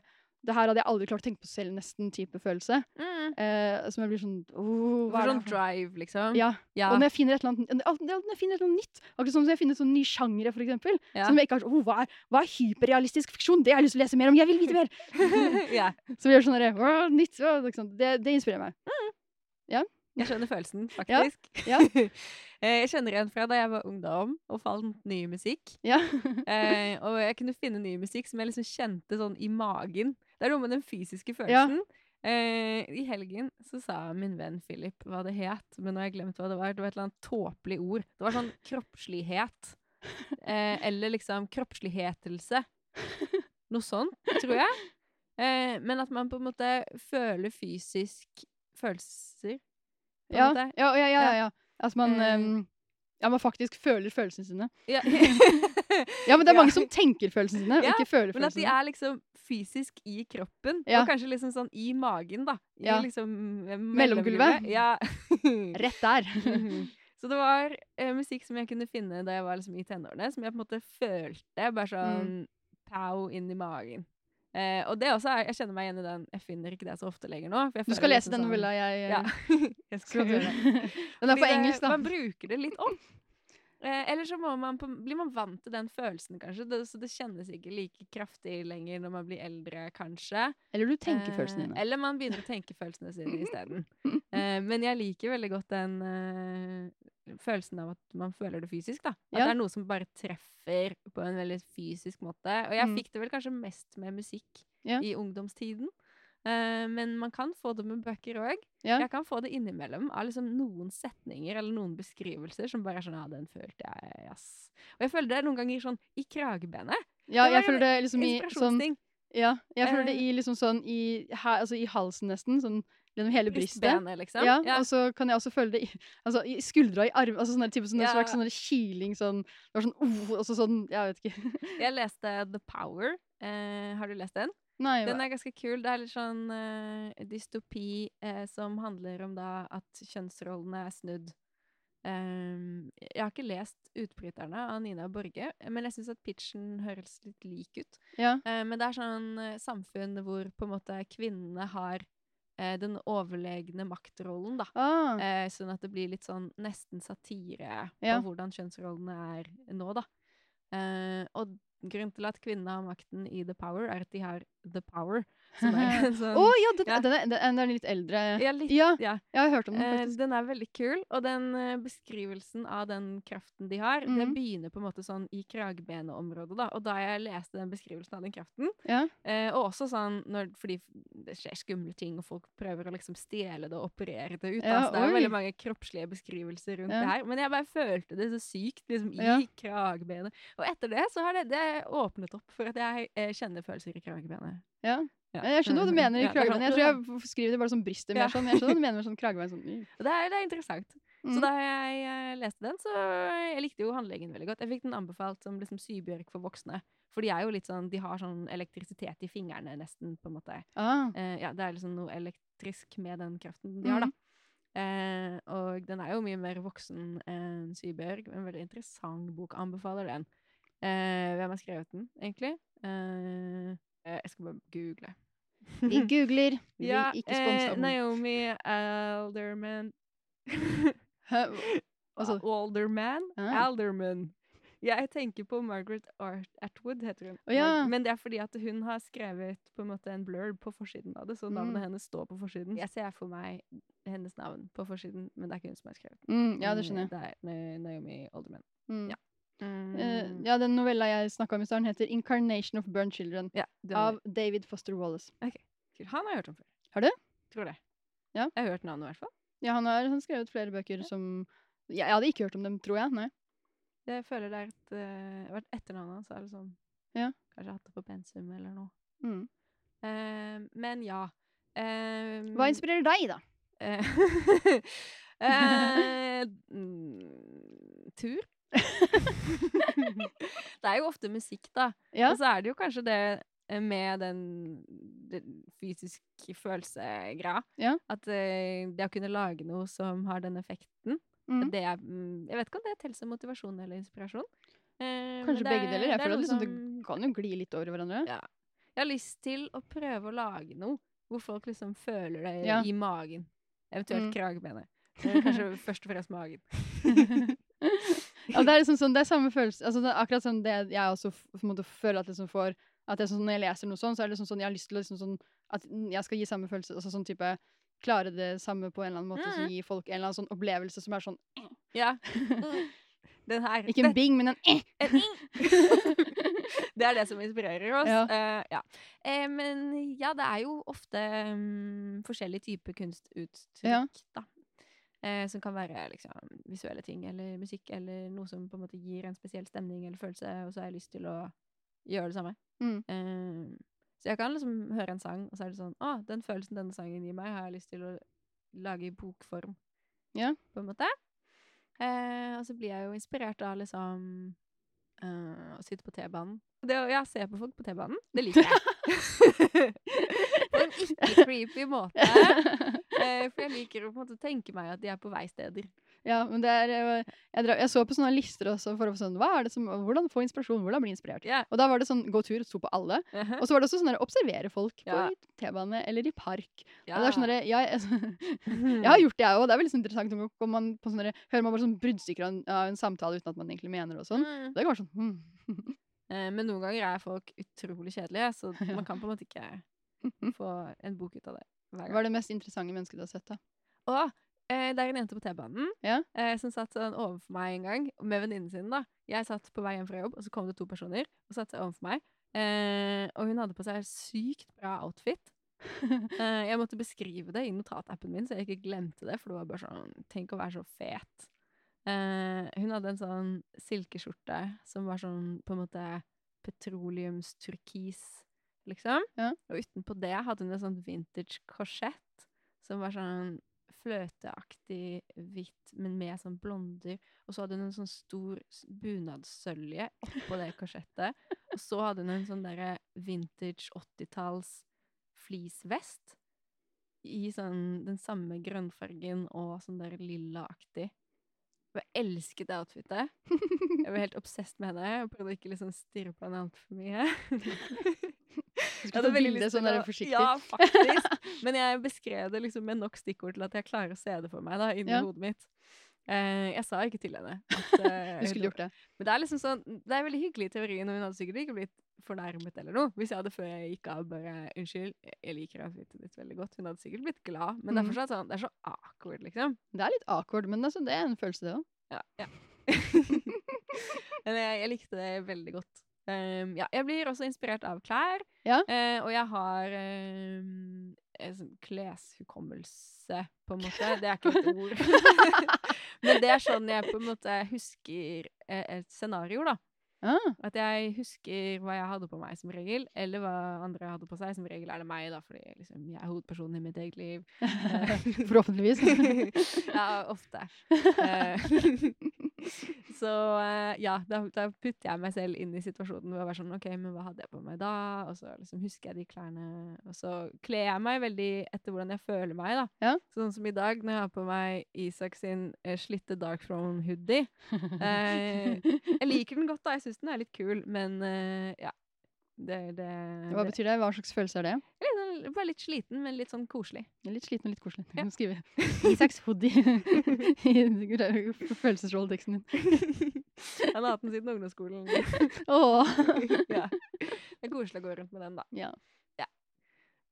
Speaker 1: Det her hadde jeg aldri klart å tenke på selv, nesten type følelse.
Speaker 2: Mm.
Speaker 1: Eh, som jeg blir sånn «Åh, hva er det
Speaker 2: Sånn
Speaker 1: her for
Speaker 2: drive, liksom.
Speaker 1: Ja.
Speaker 2: Ja.
Speaker 1: Og når jeg finner et eller annet, alt- det er alltid når jeg finner et eller annet nytt, akkurat som når jeg finner en sånn ny sjanger, for eksempel,
Speaker 2: Ja.
Speaker 1: som jeg ikke har sånn, «Åh, hva, er, hva er hyperrealistisk fiksjon? Det har jeg lyst til å lese mer om, jeg vil vite mer!
Speaker 2: ja.
Speaker 1: Så vi gjør sånn der, «Åh, nytt, åh», ikke sant? det, det inspirerer meg.
Speaker 2: Jeg skjønner følelsen,
Speaker 1: Ja,
Speaker 2: faktisk.
Speaker 1: ja.
Speaker 2: Eh, jeg kjenner igjen fra da jeg var ungdom og fant ny musikk.
Speaker 1: Ja.
Speaker 2: Eh, og jeg kunne finne ny musikk som jeg liksom kjente sånn i magen. Det er noe med den
Speaker 1: Ja.
Speaker 2: fysiske følelsen. Eh, I helgen så sa min venn Philip hva det het, men nå har jeg glemt hva det var. Det var et eller annet tåpelig ord. Det var sånn kroppslighet. Eh, eller liksom kroppslighetelse. Noe sånt, tror jeg. Eh, men at man på en måte føler fysisk følelser. på
Speaker 1: Ja,
Speaker 2: en
Speaker 1: ja,
Speaker 2: måte.
Speaker 1: ja, ja, ja,
Speaker 2: Ja.
Speaker 1: ja. Altså man,
Speaker 2: Eh.
Speaker 1: ehm, ja, man faktisk føler følelsene sine.
Speaker 2: Ja.
Speaker 1: Ja, men det er
Speaker 2: Ja.
Speaker 1: mange som tenker følelsene sine, og
Speaker 2: Ja,
Speaker 1: ikke føler
Speaker 2: Men at
Speaker 1: følelsene
Speaker 2: de
Speaker 1: sine.
Speaker 2: er liksom fysisk i kroppen,
Speaker 1: Ja.
Speaker 2: og kanskje liksom sånn i magen, da. I
Speaker 1: Ja.
Speaker 2: liksom eh,
Speaker 1: Mellomgulvet.
Speaker 2: mellomgulvet. Ja.
Speaker 1: Rett der.
Speaker 2: Så det var eh, musikk som jeg kunne finne da jeg var liksom i tenårene, som jeg på en måte følte bare sånn
Speaker 1: Mm.
Speaker 2: pow inn i magen. Eh, og det også er, jeg kjenner meg igjen i den. Jeg finner ikke det så ofte lenger nå. for jeg
Speaker 1: Du skal
Speaker 2: føler
Speaker 1: lese
Speaker 2: liksom
Speaker 1: den
Speaker 2: sånn-
Speaker 1: novella jeg eh,
Speaker 2: Ja. jeg
Speaker 1: skal
Speaker 2: skal
Speaker 1: du.
Speaker 2: gjøre det.
Speaker 1: Den er
Speaker 2: Fordi
Speaker 1: på
Speaker 2: det-
Speaker 1: engelsk, da.
Speaker 2: Man bruker det litt opp. Eh, eller så må man på, blir man vant til den følelsen, kanskje. Det, så det kjennes ikke like kraftig lenger når man blir eldre, kanskje.
Speaker 1: Eller du tenker følelsene
Speaker 2: Eh,
Speaker 1: dine.
Speaker 2: eller man begynner å tenke følelsene sine isteden. Eh, men jeg liker veldig godt den eh, følelsen av at man føler det fysisk, da. At
Speaker 1: Ja.
Speaker 2: det er noe som bare treffer på en veldig fysisk måte. Og jeg
Speaker 1: Mm.
Speaker 2: fikk det vel kanskje mest med musikk
Speaker 1: Ja.
Speaker 2: i ungdomstiden. Eh, men man kan få det med bøker òg.
Speaker 1: Ja.
Speaker 2: Jeg kan få det innimellom av liksom noen setninger eller noen beskrivelser som bare er sånn Ja, den følte jeg, ass. Og jeg føler det noen ganger sånn i kragebenet.
Speaker 1: Ja,
Speaker 2: det var
Speaker 1: jeg
Speaker 2: en
Speaker 1: føler det liksom i sånn
Speaker 2: Inspirasjonsting.
Speaker 1: Ja, jeg føler det
Speaker 2: Eh.
Speaker 1: i liksom sånn i, her, altså i halsen nesten, sånn gjennom hele brystet.
Speaker 2: Brystbenet, liksom.
Speaker 1: Ja,
Speaker 2: Ja.
Speaker 1: og så kan jeg også føle det i, altså, i skuldra, i arm, altså sånn der type sånn en
Speaker 2: Ja.
Speaker 1: slags sånn der kiling, sånn, det var sånn, uh, og så sånn, jeg vet ikke.
Speaker 2: Jeg leste The Power. Eh, har du lest den?
Speaker 1: Nei,
Speaker 2: Den
Speaker 1: hva-
Speaker 2: er ganske kul. Det er litt sånn eh, dystopi eh, som handler om da at kjønnsrollene er snudd. Ehm, jeg har ikke lest 'Utbryterne' av Nina Borge, men jeg syns at pitchen høres litt lik ut.
Speaker 1: ja,
Speaker 2: Eh, men det er sånn eh, samfunn hvor på en måte kvinnene har eh, den overlegne maktrollen, da.
Speaker 1: ah,
Speaker 2: Eh, sånn at det blir litt sånn nesten satire på
Speaker 1: Ja.
Speaker 2: hvordan kjønnsrollene er nå, da. Eh, og grunnen til at kvinnene har makten i The Power, er at de har The Power. Som er en sånn
Speaker 1: Å ja, den,
Speaker 2: ja.
Speaker 1: Den, er, den, den er litt eldre.
Speaker 2: ja, litt,
Speaker 1: Ja,
Speaker 2: ja.
Speaker 1: jeg har hørt om den
Speaker 2: Eh,
Speaker 1: faktisk.
Speaker 2: den er veldig kul, og den eh, beskrivelsen av den kraften de har, det
Speaker 1: Mhm.
Speaker 2: begynner på en måte sånn i kragbeneområdet, da. Og da jeg leste den beskrivelsen av den kraften,
Speaker 1: Ja.
Speaker 2: eh, og også sånn når, fordi det skjer skumle ting, og folk prøver å liksom stjele det og operere det ut, da,
Speaker 1: Ja,
Speaker 2: så det er jo
Speaker 1: oi.
Speaker 2: veldig mange kroppslige beskrivelser rundt
Speaker 1: Ja.
Speaker 2: det her. Men jeg bare følte det så sykt, liksom, i
Speaker 1: Ja.
Speaker 2: kragbenet. Og etter det så har det, det åpnet opp for at jeg eh, kjenner følelser i kragbenet.
Speaker 1: Ja.
Speaker 2: Ja.
Speaker 1: Jeg skjønner hva du mener i
Speaker 2: Ja, det er sånn-
Speaker 1: kragebein. Jeg tror jeg f- skriver det bare som brystet mer
Speaker 2: Ja.
Speaker 1: sånn. Jeg skjønner hva du mener med sånn kragebein. Sånn. mm.
Speaker 2: Og det er, det er interessant. Så
Speaker 1: Mm.
Speaker 2: da jeg eh, leste den, så jeg likte jo handlegen veldig godt. Jeg fikk den anbefalt som liksom sybjørk for voksne. For de er jo litt sånn, de har sånn elektrisitet i fingrene nesten, på en måte.
Speaker 1: Ah,
Speaker 2: Eh, ja, det er liksom noe elektrisk med den kraften de har, da. Eh, og den er jo mye mer voksen enn Sybjørg. En veldig interessant bok. Anbefaler den. Eh, hvem har skrevet den, egentlig? Eh, eh, jeg skal bare google.
Speaker 1: Vi googler. Vi
Speaker 2: ja,
Speaker 1: ikke sponsa.
Speaker 2: eh, Naomi Alderman.
Speaker 1: Hæ? Altså-
Speaker 2: Alderman?
Speaker 1: Ah.
Speaker 2: Alderman. Jeg tenker på Margaret Art Atwood, heter hun.
Speaker 1: Å ja.
Speaker 2: Men det er fordi at hun har skrevet på en måte en blurb på forsiden av det, så navnet
Speaker 1: Mm.
Speaker 2: hennes står på forsiden. Jeg ser for meg hennes navn på forsiden, men det er ikke hun som har skrevet den.
Speaker 1: Mm, ja, det skjønner jeg.
Speaker 2: Det er Na- Naomi Alderman.
Speaker 1: Mm.
Speaker 2: ja. Mm.
Speaker 1: Eh, ja, den novella jeg snakka om i starten, heter 'Incarnation of Burn Children'
Speaker 2: Ja, du har
Speaker 1: av David Foster Wallace.
Speaker 2: det. Han har jeg hørt om før.
Speaker 1: Har du?
Speaker 2: Tror det.
Speaker 1: Ja.
Speaker 2: Jeg har hørt navnet i hvert fall.
Speaker 1: Ja, han har han skrevet flere bøker som ja, Jeg hadde ikke hørt om dem, tror jeg. Nei.
Speaker 2: Jeg føler det er et eh, vært etternavnet hans. er liksom
Speaker 1: Ja.
Speaker 2: Kanskje hatt det på pensum eller noe.
Speaker 1: Mm.
Speaker 2: Eh, men ja.
Speaker 1: Hva
Speaker 2: Um,
Speaker 1: inspirerer deg, da?
Speaker 2: Eh, eh, mm, tur. det er jo ofte musikk, da.
Speaker 1: Ja.
Speaker 2: Og så er det jo kanskje det eh, med den, den fysiske følelsegreia.
Speaker 1: Ja.
Speaker 2: At eh, det å kunne lage noe som har den effekten
Speaker 1: Mm.
Speaker 2: det er, mm, Jeg vet ikke om det teller som motivasjon eller inspirasjon. Eh, men
Speaker 1: Kanskje
Speaker 2: det
Speaker 1: begge
Speaker 2: er-
Speaker 1: deler? Jeg
Speaker 2: det er
Speaker 1: føler at
Speaker 2: noe
Speaker 1: liksom,
Speaker 2: som-
Speaker 1: det kan jo gli litt over hverandre.
Speaker 2: Ja. Jeg har lyst til å prøve å lage noe hvor folk liksom føler det
Speaker 1: Ja.
Speaker 2: i magen. Eventuelt
Speaker 1: Mm.
Speaker 2: kragebenet. Men Kanskje først og fremst magen.
Speaker 1: ja, det er liksom sånn, det er samme følelse altså, det er Akkurat som det jeg også f- på en måte føler at liksom får at det er sånn, Når jeg leser noe sånn, så er det liksom sånn jeg har lyst til å liksom sånn At jeg skal gi samme følelse. Altså sånn type Klare det samme på en eller annen måte. Så
Speaker 2: Mhm.
Speaker 1: gi folk en eller annen sånn opplevelse som er sånn
Speaker 2: Ja. Den her.
Speaker 1: Ikke en bing, men en eh.
Speaker 2: En ing. det er det som inspirerer oss.
Speaker 1: Ja.
Speaker 2: Eh, ja. Eh, men ja, det er jo ofte mm, forskjellige typer kunstuttrykk,
Speaker 1: Ja.
Speaker 2: da. Eh, som kan være liksom, visuelle ting eller musikk eller noe som på en måte gir en spesiell stemning eller følelse, og så har jeg lyst til å gjøre det samme.
Speaker 1: Mm.
Speaker 2: Eh, så jeg kan liksom høre en sang, og så er det sånn Å, den følelsen denne sangen gir meg, har jeg lyst til å lage i bokform.
Speaker 1: Ja.
Speaker 2: På en måte. Eh, og så blir jeg jo inspirert av liksom eh, å sitte på T-banen. Det å ja, se på folk på T-banen, det liker jeg. på en ikke-creepy måte. Eh, for jeg liker å på en måte tenke meg at de er på veisteder.
Speaker 1: ja, men det er eh, jeg, dra- jeg så på sånne lister også for å få sånn Hva er det som Hvordan få inspirasjon? Hvordan bli inspirert?
Speaker 2: Ja.
Speaker 1: Og da var det sånn gå tur, sto på alle.
Speaker 2: Uh-huh.
Speaker 1: Og så var det også sånn der observere folk
Speaker 2: Ja.
Speaker 1: på T-bane eller i park. Og det er sånn der, ja, jeg, Jeg
Speaker 2: ja,
Speaker 1: har gjort det, jeg òg. Det er veldig sånn interessant noen ganger om man på sånne, hører man bare sånn bruddstykker av en, av en samtale uten at man egentlig mener det. og sånn.
Speaker 2: Mm.
Speaker 1: Det er bare sånn, hmm.
Speaker 2: Eh, Men noen ganger er folk utrolig kjedelige, så
Speaker 1: Ja.
Speaker 2: man kan på en måte ikke få en bok ut av det hver
Speaker 1: Hva
Speaker 2: gang.
Speaker 1: er det mest interessante mennesket du har sett, da?
Speaker 2: Og eh, det er en jente på T-banen
Speaker 1: Ja.
Speaker 2: eh, som satt sånn overfor meg en gang, med venninnen sin. da. Jeg satt på vei hjem fra jobb, og så kom det to personer og satte seg overfor meg. Eh, og hun hadde på seg sykt bra outfit. Eh, jeg måtte beskrive det i notatappen min, så jeg ikke glemte det. For det var bare sånn Tenk å være så fet. Eh, hun hadde en sånn silkeskjorte som var sånn på en måte petroleumsturkis, liksom.
Speaker 1: Ja.
Speaker 2: Og utenpå det hadde hun en sånn vintage korsett som var sånn fløteaktig hvitt, men med sånn blonder. Og så hadde hun en sånn stor s- bunadssølje oppå det korsettet. Og så hadde hun en sånn derre vintage 80-talls fleecevest i sånn den samme grønnfargen og sånn der lillaaktig. Og Jeg elsket det outfitet. Jeg var helt obsess med henne. Jeg prøvde å ikke liksom stirre på henne altfor mye.
Speaker 1: Du
Speaker 2: Jeg
Speaker 1: skulle
Speaker 2: hadde
Speaker 1: ta
Speaker 2: veldig
Speaker 1: bilde
Speaker 2: lyst
Speaker 1: sånn
Speaker 2: til
Speaker 1: der
Speaker 2: å-
Speaker 1: forsiktig.
Speaker 2: Ja, faktisk. Men jeg beskrev det liksom med nok stikkord til at jeg klarer å se det for meg da, inni
Speaker 1: Ja.
Speaker 2: hodet mitt. Eh, jeg sa ikke til henne at eh,
Speaker 1: Du skulle gjort det.
Speaker 2: men det er liksom sånn, det er veldig hyggelig i teorien, og hun hadde sikkert ikke blitt fornærmet eller noe, hvis jeg hadde før jeg gikk av bare, unnskyld, jeg liker ansiktet ditt veldig godt. Hun hadde sikkert blitt glad, men det er
Speaker 1: Mhm.
Speaker 2: fortsatt sånn, det er så awkward, liksom.
Speaker 1: Det er litt awkward, men altså, det er en følelse, det òg.
Speaker 2: Ja, ja. men jeg, jeg likte det veldig godt. Um, ja, jeg blir også inspirert av klær,
Speaker 1: Ja.
Speaker 2: eh, og jeg har um, en sånn kleshukommelse, på en måte. Det er ikke et ord. men det er sånn jeg på en måte husker eh, et scenario, da.
Speaker 1: Ah,
Speaker 2: At jeg husker hva jeg hadde på meg som regel, eller hva andre hadde på seg. Som regel er det meg, da, fordi liksom, jeg er hovedpersonen i mitt eget liv. Eh,
Speaker 1: forhåpentligvis.
Speaker 2: ja, ofte. Eh, så eh, ja, da, da putter jeg meg selv inn i situasjonen hvor jeg var sånn OK, men hva hadde jeg på meg da? Og så liksom husker jeg de klærne. Og så kler jeg meg veldig etter hvordan jeg føler meg, da.
Speaker 1: Ja.
Speaker 2: Sånn som i dag, når jeg har på meg Isak sin eh, slitte dark throne hoodie. Eh, Jeg liker den godt, da. Jeg syns den er litt kul, men eh, ja. Det, det,
Speaker 1: Hva
Speaker 2: det,
Speaker 1: betyr det? Hva slags følelse er det?
Speaker 2: jeg er litt sånn- bare litt sliten, men litt sånn koselig.
Speaker 1: Jeg er Litt sliten og litt koselig. Du
Speaker 2: Ja.
Speaker 1: kan skrive Isaks hoodie i følelsesrolleteksten din.
Speaker 2: Jeg har hatt den siden ungdomsskolen.
Speaker 1: Åh.
Speaker 2: ja. Det er koselig å gå rundt med den, da.
Speaker 1: Ja.
Speaker 2: Ja.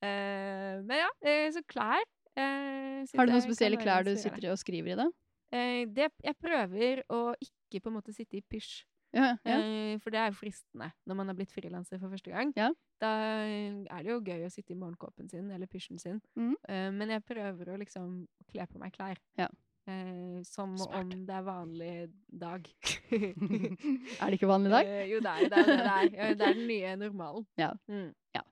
Speaker 2: Eh, men ja, eh, så klær eh, syns
Speaker 1: Har du
Speaker 2: jeg
Speaker 1: noen
Speaker 2: kan
Speaker 1: spesielle
Speaker 2: være
Speaker 1: klær du
Speaker 2: inspirerende.
Speaker 1: sitter i og skriver i, da?
Speaker 2: Eh, det, jeg prøver å ikke på en måte sitte i pysj.
Speaker 1: Ja, ja.
Speaker 2: Eh, For det er jo fristende når man har blitt frilanser for første gang.
Speaker 1: Ja.
Speaker 2: Da eh, er det jo gøy å sitte i morgenkåpen sin eller pysjen sin.
Speaker 1: Mhm.
Speaker 2: Eh, Men jeg prøver å liksom kle på meg klær.
Speaker 1: Ja.
Speaker 2: Eh, Som
Speaker 1: Smart.
Speaker 2: om det er vanlig dag.
Speaker 1: Er det ikke vanlig i dag?
Speaker 2: Eh, jo, det er jo det. Er, det, det, er. Ja, det er den nye normalen.
Speaker 1: Ja.
Speaker 2: Mm.
Speaker 1: Ja.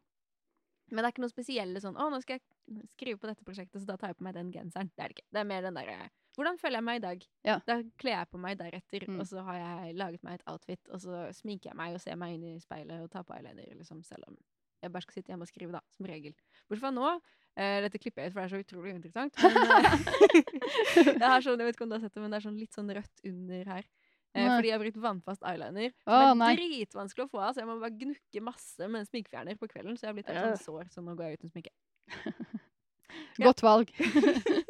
Speaker 2: Men det er ikke noe spesielle sånn 'Å, nå skal jeg skrive på dette prosjektet, så da tar jeg på meg den genseren'. Det er det ikke. Det er mer den derre 'Hvordan føler jeg meg i dag?'
Speaker 1: Ja.
Speaker 2: Da kler jeg på meg deretter,
Speaker 1: Mm.
Speaker 2: og så har jeg laget meg et outfit, og så sminker jeg meg og ser meg inn i speilet og tar på eyeliner, liksom, selv om jeg bare skal sitte hjemme og skrive, da, som regel. Bortsett fra nå. eh, dette klipper jeg ut, for det er så utrolig uinteressant. Men, eh, jeg har sånn, jeg vet ikke om du har sett det, men det er sånn litt sånn rødt under her. Eh,
Speaker 1: Nei.
Speaker 2: fordi jeg har brukt vannfast eyeliner. Som
Speaker 1: Å,
Speaker 2: er
Speaker 1: nei.
Speaker 2: dritvanskelig å få av, så jeg må bare gnukke masse med en sminkefjerner på kvelden. Så jeg har blitt helt
Speaker 1: Øh.
Speaker 2: sånn sår, så nå går jeg uten sminke. Ja.
Speaker 1: Godt valg.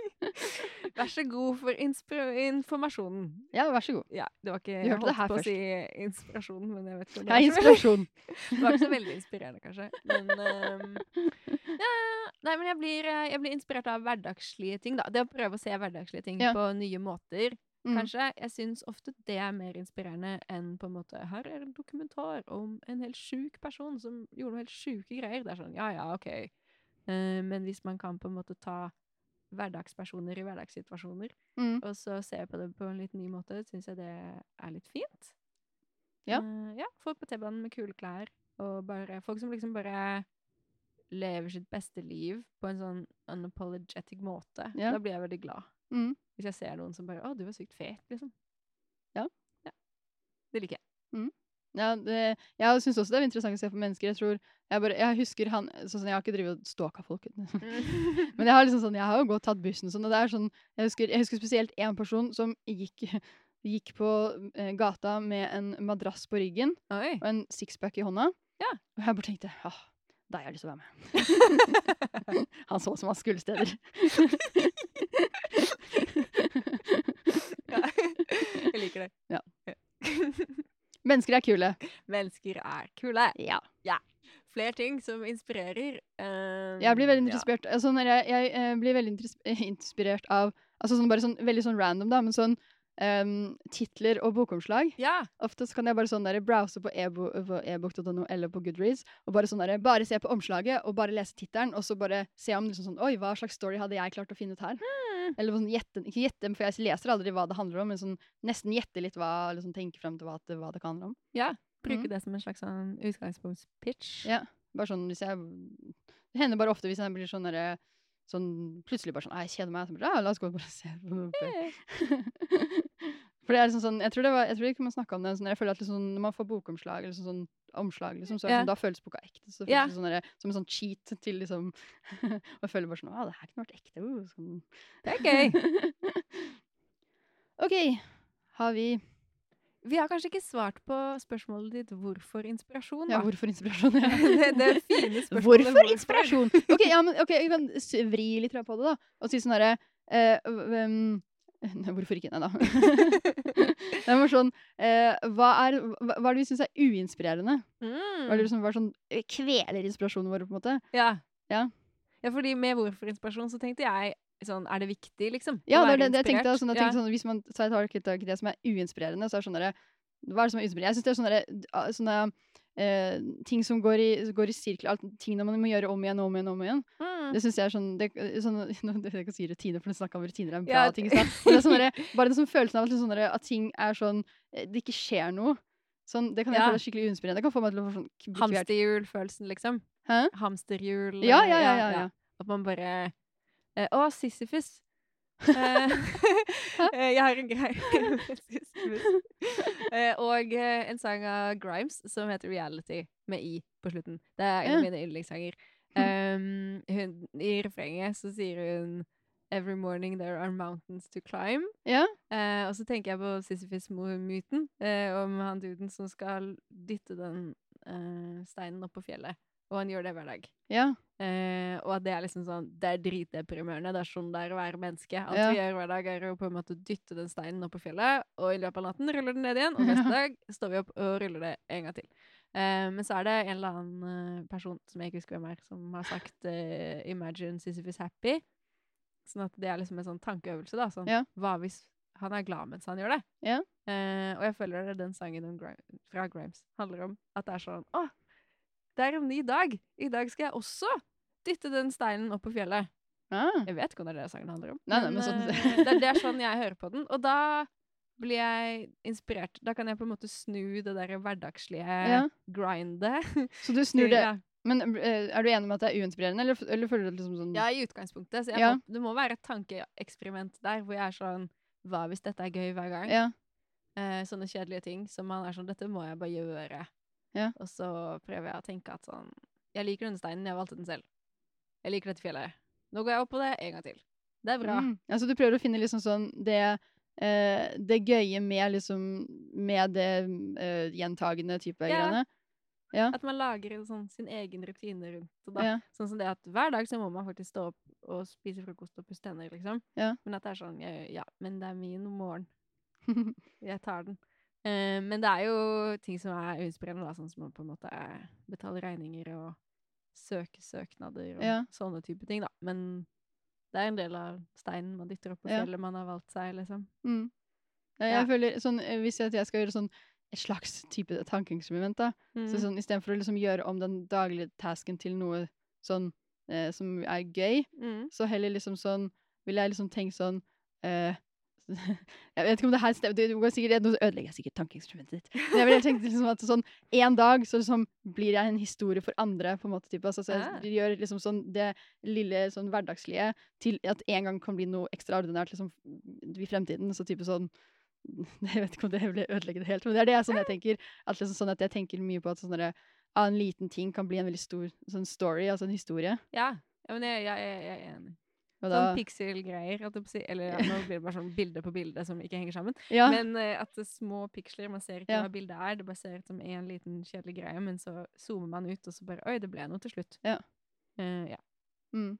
Speaker 2: Vær så god for inspira- informasjonen.
Speaker 1: Ja, vær så god.
Speaker 2: Ja, det var ikke
Speaker 1: Du
Speaker 2: Jeg
Speaker 1: hørte det
Speaker 2: holdt
Speaker 1: her
Speaker 2: på å
Speaker 1: først.
Speaker 2: si inspirasjon, men jeg vet ikke om
Speaker 1: Det er
Speaker 2: så-
Speaker 1: inspirasjon.
Speaker 2: Det var ikke så veldig inspirerende, kanskje. Men, ehm, ja, nei, men jeg, blir, eh, jeg blir inspirert av hverdagslige ting. Da. Det å prøve å se hverdagslige ting
Speaker 1: Ja.
Speaker 2: på nye måter.
Speaker 1: Mm.
Speaker 2: Kanskje. Jeg syns ofte det er mer inspirerende enn på en måte Her er en dokumentar om en helt sjuk person som gjorde noe helt sjuke greier. Det er sånn, ja ja, OK. Eh, men hvis man kan på en måte ta hverdagspersoner i hverdagssituasjoner,
Speaker 1: Mm.
Speaker 2: og så ser jeg på det på en litt ny måte, syns jeg det er litt fint.
Speaker 1: Ja.
Speaker 2: Eh, ja folk på T-banen med kule klær, og bare, folk som liksom bare lever sitt beste liv på en sånn unapologetic måte.
Speaker 1: Ja.
Speaker 2: Da blir jeg veldig glad.
Speaker 1: Mm.
Speaker 2: Hvis jeg ser noen som bare 'Å, du var sykt fet', liksom.
Speaker 1: Ja.
Speaker 2: ja. Det liker jeg.
Speaker 1: Ja, det, jeg syns også det er interessant å se på mennesker. Jeg tror, jeg, bare, jeg husker han sånn, som Jeg har ikke drevet og stalka folk. Men jeg har liksom sånn, jeg har jo godt tatt bussen sånn, og det er sånn, jeg husker, jeg husker spesielt én person som gikk, gikk på eh, gata med en madrass på ryggen
Speaker 2: Oi.
Speaker 1: og en sixpack i hånda.
Speaker 2: Ja.
Speaker 1: Og jeg bare tenkte ja, deg har jeg lyst til å være med. han så ut som han skulle steder.
Speaker 2: Ja. Jeg liker det.
Speaker 1: Ja.
Speaker 2: Ja.
Speaker 1: Mennesker er kule.
Speaker 2: Mennesker er kule.
Speaker 1: Ja.
Speaker 2: Flere ting som inspirerer. eh,
Speaker 1: Jeg blir veldig
Speaker 2: ja.
Speaker 1: interessert, altså når jeg, jeg eh, blir veldig interes- inspirert av altså sånn, bare sånn, Veldig sånn random, da, men sånn em, titler og bokomslag.
Speaker 2: Ja.
Speaker 1: Ofte så kan jeg bare sånn der, browse på ebo- på ebook.no eller på Goodreads og bare sånn der, bare se på omslaget og bare lese tittelen, og så bare se om liksom sånn, oi, hva slags story hadde jeg klart å finne ut her? Eller sånn gjette, ikke gjette, for jeg leser aldri hva det handler om, men sånn nesten gjette litt hva, liksom tenke frem til hva det, hva det kan handle om.
Speaker 2: Bruke
Speaker 1: Mm.
Speaker 2: det som en slags sånn utgangspunktspitch.
Speaker 1: Ja. Bare sånn hvis jeg Det hender bare ofte hvis jeg blir sånn derre Sånn plutselig bare sånn «Nei, Jeg kjeder meg. Så bare, ja, la oss gå og bare se på noe. på-
Speaker 2: Eh,
Speaker 1: For det er liksom sånn Jeg tror det var Jeg tror ikke man snakka om det. Sånn, jeg føler at liksom, sånn, når man får bokomslag, eller sånn, sånn omslag, liksom, så er det
Speaker 2: Ja.
Speaker 1: sånn, da føles boka ekte. Så det
Speaker 2: Ja.
Speaker 1: føles det sånn derre- som en sånn cheat til liksom Og jeg føler bare sånn Å, det her kunne vært ekte. Uh, sånn.
Speaker 2: Det er gøy.
Speaker 1: OK. Har vi
Speaker 2: Vi har kanskje ikke svart på spørsmålet ditt 'hvorfor inspirasjon'?
Speaker 1: Ja,
Speaker 2: da?
Speaker 1: hvorfor inspirasjon? Ja.
Speaker 2: det, det fine spørsmålet.
Speaker 1: Hvorfor inspirasjon? Ok, ja, men, ok, jeg kan s- vri litt på det, da. Og si sånn herre eh, v- um, Nei, hvorfor ikke? Nei da. det var sånn eh, hva, er, hva, hva er det vi syns er uinspirerende?
Speaker 2: Mm.
Speaker 1: Hva er det som bare sånn eh, kveler inspirasjonen vår, på en måte?
Speaker 2: Ja.
Speaker 1: Ja.
Speaker 2: ja, fordi med 'hvorfor inspirasjon' så tenkte jeg sånn Er det viktig, liksom? å
Speaker 1: Ja, det
Speaker 2: være
Speaker 1: var det, det jeg tenkte.
Speaker 2: inspirert?
Speaker 1: Sånn, jeg
Speaker 2: Ja.
Speaker 1: tenkte sånn, hvis man så jeg tar ikke tak i det som er uinspirerende, så er det sånn derre Hva er det som er uinspirerende? Jeg syns det er sånne, derre- ah, sånne eh, ting som går i, går i sirkel, alt, tingene man må gjøre om igjen og om igjen og om igjen.
Speaker 2: Mm.
Speaker 1: Det synes jeg er sånn, det, sånn nå, Jeg kan si rutiner, for du snakket om rutiner er en bra
Speaker 2: Ja,
Speaker 1: ting. i stad. Men det er sånn derre- bare den sånn følelsen av at, liksom sånn derre- at ting er sånn eh, Det ikke skjer noe. Sånn, det kan jeg
Speaker 2: Ja.
Speaker 1: føle er skikkelig uinspirerende. Det kan få meg til å få sånn k- bli kvalt.
Speaker 2: Hamsterhjul-følelsen, liksom.
Speaker 1: Hæ?
Speaker 2: Hamsterhjul
Speaker 1: Ja,
Speaker 2: eh,
Speaker 1: ja, ja. ja, ja.
Speaker 2: At man bare eh, Å, Sisyfus! Eh, eh, jeg har en greie med Sisyfus. Eh, og eh, en sang av Grimes som heter 'Reality', med I på slutten. Det er en
Speaker 1: Ja.
Speaker 2: av mine yndlingssanger. Um, hun, I refrenget så sier hun 'Every morning there are mountains to climb'.
Speaker 1: Ja.
Speaker 2: Eh, og så tenker jeg på Sisyfus-myten, eh, om han duden som skal dytte den eh, steinen opp på fjellet. Og han gjør det hver dag.
Speaker 1: ja.
Speaker 2: Eh, og at det er liksom sånn Det er dritdeprimerende. Det er sånn det er å være menneske. Alt
Speaker 1: Ja.
Speaker 2: vi gjør hver dag, er jo på en måte å dytte den steinen opp på fjellet, og i løpet av natten ruller den ned igjen, og neste dag står vi opp og ruller det en gang til. Eh, men så er det en eller annen eh, person som jeg ikke husker hvem er, som har sagt eh, 'Imagine Sisyphus happy'. Sånn at det er liksom en sånn tankeøvelse, da. Sånn,
Speaker 1: Ja.
Speaker 2: Hva hvis han er glad mens han gjør det?
Speaker 1: Ja.
Speaker 2: Eh, og jeg føler det er den sangen om Gri- fra Grimes handler om. At det er sånn Å, det er en ny dag! I dag skal jeg også dytte den steinen opp på fjellet.
Speaker 1: Ah.
Speaker 2: Jeg vet ikke om det er det sangen handler om.
Speaker 1: Nei, nei, men sånn-
Speaker 2: eh, det, er- det er sånn jeg hører på den. Og da blir jeg inspirert. Da kan jeg på en måte snu det der hverdagslige
Speaker 1: Ja.
Speaker 2: grindet.
Speaker 1: Så du snur det
Speaker 2: Ja.
Speaker 1: Men eh, er du enig med at det er uinspirerende, eller, f- eller føler du det liksom sånn
Speaker 2: Ja, i utgangspunktet. Så jeg
Speaker 1: Ja.
Speaker 2: må, det må være et tankeeksperiment der hvor jeg er sånn Hva hvis dette er gøy hver gang?
Speaker 1: Ja.
Speaker 2: eh, sånne kjedelige ting som man er sånn Dette må jeg bare gjøre.
Speaker 1: Ja.
Speaker 2: Og så prøver jeg å tenke at sånn Jeg liker denne steinen, jeg valgte den selv. Jeg liker dette fjellet. Nå går jeg opp på det en gang til. Det er bra.
Speaker 1: Mm. Altså, du prøver å finne liksom sånn det eh, det gøye med liksom Med det eh, gjentagende type
Speaker 2: Ja.
Speaker 1: greiene.
Speaker 2: At man lager en sånn, sin egen rutine rundt det. Da.
Speaker 1: Ja.
Speaker 2: Sånn som det at hver dag så må man faktisk stå opp og spise frokost og pusse tenner, liksom.
Speaker 1: Ja.
Speaker 2: Men at det er sånn ja, ja, men det er min morgen. Jeg tar den. Eh, men det er jo ting som er utspredende, da, sånn som å på en måte eh, betale regninger og søke søknader og
Speaker 1: Ja.
Speaker 2: sånne type ting, da. Men det er en del av steinen man dytter opp på
Speaker 1: Ja.
Speaker 2: fjellet man har valgt seg, liksom.
Speaker 1: Mm. Ja, jeg
Speaker 2: Ja.
Speaker 1: føler sånn, eh, Hvis jeg, jeg skal gjøre sånn et slags type tankeeksperiment, da Så
Speaker 2: Mm.
Speaker 1: sånn, istedenfor å liksom gjøre om den daglige tasken til noe sånn eh, som er gøy,
Speaker 2: Mm.
Speaker 1: så heller liksom sånn Vil jeg liksom tenke sånn eh, Jeg vet ikke om det her stemmer, det går sikkert, nå ødelegger jeg sikkert tankeeksperimentet ditt. Men jeg ville heller tenkt liksom at sånn en dag så liksom blir jeg en historie for andre, på en måte. Type. Altså, så jeg
Speaker 2: Ah.
Speaker 1: gjør liksom sånn det lille sånn hverdagslige til at en gang kan bli noe ekstraordinært liksom, i fremtiden. Så type sånn Jeg vet ikke om det vil ødelegge det helt, men det er det jeg- sånn jeg tenker. At liksom sånn at jeg tenker mye på at sånn derre av en liten ting kan bli en veldig stor sånn story, altså en historie.
Speaker 2: Ja. ja, men jeg, jeg, jeg, jeg er enig.
Speaker 1: Og da-
Speaker 2: Sånn pixel-greier, holdt jeg på å si. Eller ja, nå blir det bare sånn bilde på bilde som ikke henger sammen.
Speaker 1: ja.
Speaker 2: Men eh, at det er små piksler, man ser ikke
Speaker 1: Ja.
Speaker 2: hva bildet er, det bare ser ut som én liten kjedelig greie, men så zoomer man ut, og så bare Oi, det ble noe til slutt.
Speaker 1: Ja.
Speaker 2: Eh, ja,
Speaker 1: mm.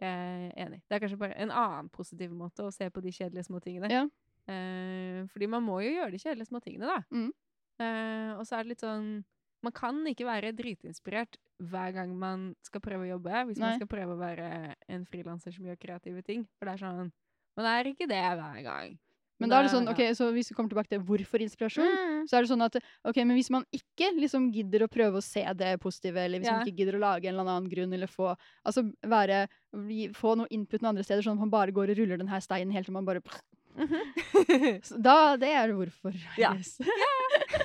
Speaker 2: jeg er enig. Det er kanskje bare en annen positiv måte å se på de kjedelige små tingene.
Speaker 1: Ja.
Speaker 2: Eh, fordi man må jo gjøre de kjedelige små tingene, da.
Speaker 1: Mm.
Speaker 2: Eh, og så er det litt sånn Man kan ikke være dritinspirert hver gang man skal prøve å jobbe, hvis
Speaker 1: Nei.
Speaker 2: man skal prøve å være en frilanser som gjør kreative ting. For det er sånn Man er ikke det hver gang.
Speaker 1: Men da er det sånn,
Speaker 2: ja.
Speaker 1: ok, så hvis vi kommer tilbake til hvorfor inspirasjon,
Speaker 2: Mm.
Speaker 1: så er det sånn at ok, men hvis man ikke liksom gidder å prøve å se det positive, eller hvis
Speaker 2: Ja.
Speaker 1: man ikke gidder å lage en eller annen grunn, eller få, altså være, gi- få noe input noen andre steder, sånn at man bare går og ruller den her steinen helt til man bare Så Da, det er hvorfor.
Speaker 2: Ja.
Speaker 1: yes.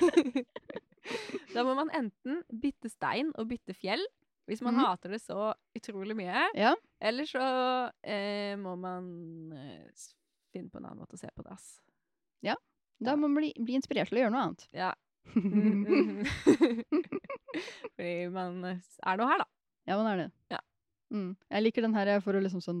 Speaker 2: da må man enten bytte stein og bytte fjell, hvis man
Speaker 1: Mhm.
Speaker 2: hater det så utrolig mye.
Speaker 1: Ja.
Speaker 2: Eller så eh, må man eh, s- finne på en annen måte å se på det, ass.
Speaker 1: Da må man bli, bli inspirert til å gjøre noe annet.
Speaker 2: Ja. Mhm. Fordi man eh, s- er nå her, da.
Speaker 1: Ja, man er det.
Speaker 2: Ja.
Speaker 1: Mm. Jeg liker den her eh, for å liksom sånn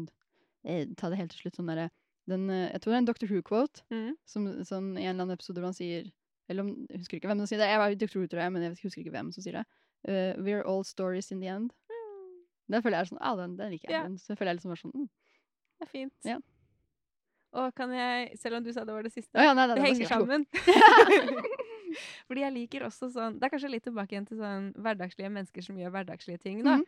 Speaker 1: eh, Ta det helt til slutt, sånn derre den, eh, Jeg tror det er en Dr. Who-quote,
Speaker 2: Mhm.
Speaker 1: som sånn, i en eller annen episode hvor han sier Eller om, jeg husker ikke hvem som sier det. Jeg var jo Dr. Who, tror jeg, men jeg husker ikke hvem som sier det. Eh, We're all stories in the end. Den føler jeg er sånn Ah, den, den liker jeg.
Speaker 2: Ja.
Speaker 1: Den, så føler jeg liksom bare sånn mm.
Speaker 2: Det er fint.
Speaker 1: Ja.
Speaker 2: Og kan jeg, selv om du sa det var det siste,
Speaker 1: Å ja, nei, nei,
Speaker 2: Det
Speaker 1: den var
Speaker 2: henger
Speaker 1: sikkert god.
Speaker 2: sammen. Fordi jeg liker også sånn Det er kanskje litt tilbake igjen til sånn hverdagslige mennesker som gjør hverdagslige ting. da.
Speaker 1: Mhm.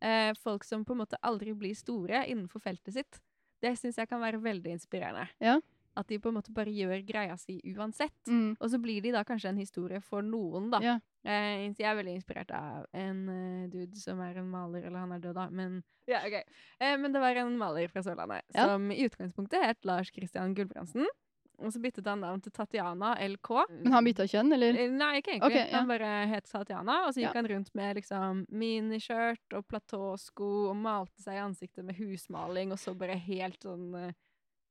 Speaker 2: Eh, folk som på en måte aldri blir store innenfor feltet sitt. Det syns jeg kan være veldig inspirerende.
Speaker 1: Ja.
Speaker 2: At de på en måte bare gjør greia si uansett.
Speaker 1: Mm.
Speaker 2: Og så blir de da kanskje en historie for noen, da.
Speaker 1: Ja.
Speaker 2: Eh, så jeg er veldig inspirert av en eh, dude som er en maler, eller han er død, da, men ja, ok. Eh, men det var en maler fra Sørlandet
Speaker 1: Ja.
Speaker 2: som i utgangspunktet het Lars Christian Gulbrandsen. Og så byttet han navn til Tatiana LK.
Speaker 1: Men han bytta kjønn, eller?
Speaker 2: Eh, Nei, ikke egentlig.
Speaker 1: Ok, ja.
Speaker 2: Han bare het Tatiana, og så gikk
Speaker 1: Ja.
Speaker 2: han rundt med liksom miniskjørt og platåsko og malte seg i ansiktet med husmaling, og så bare helt sånn eh,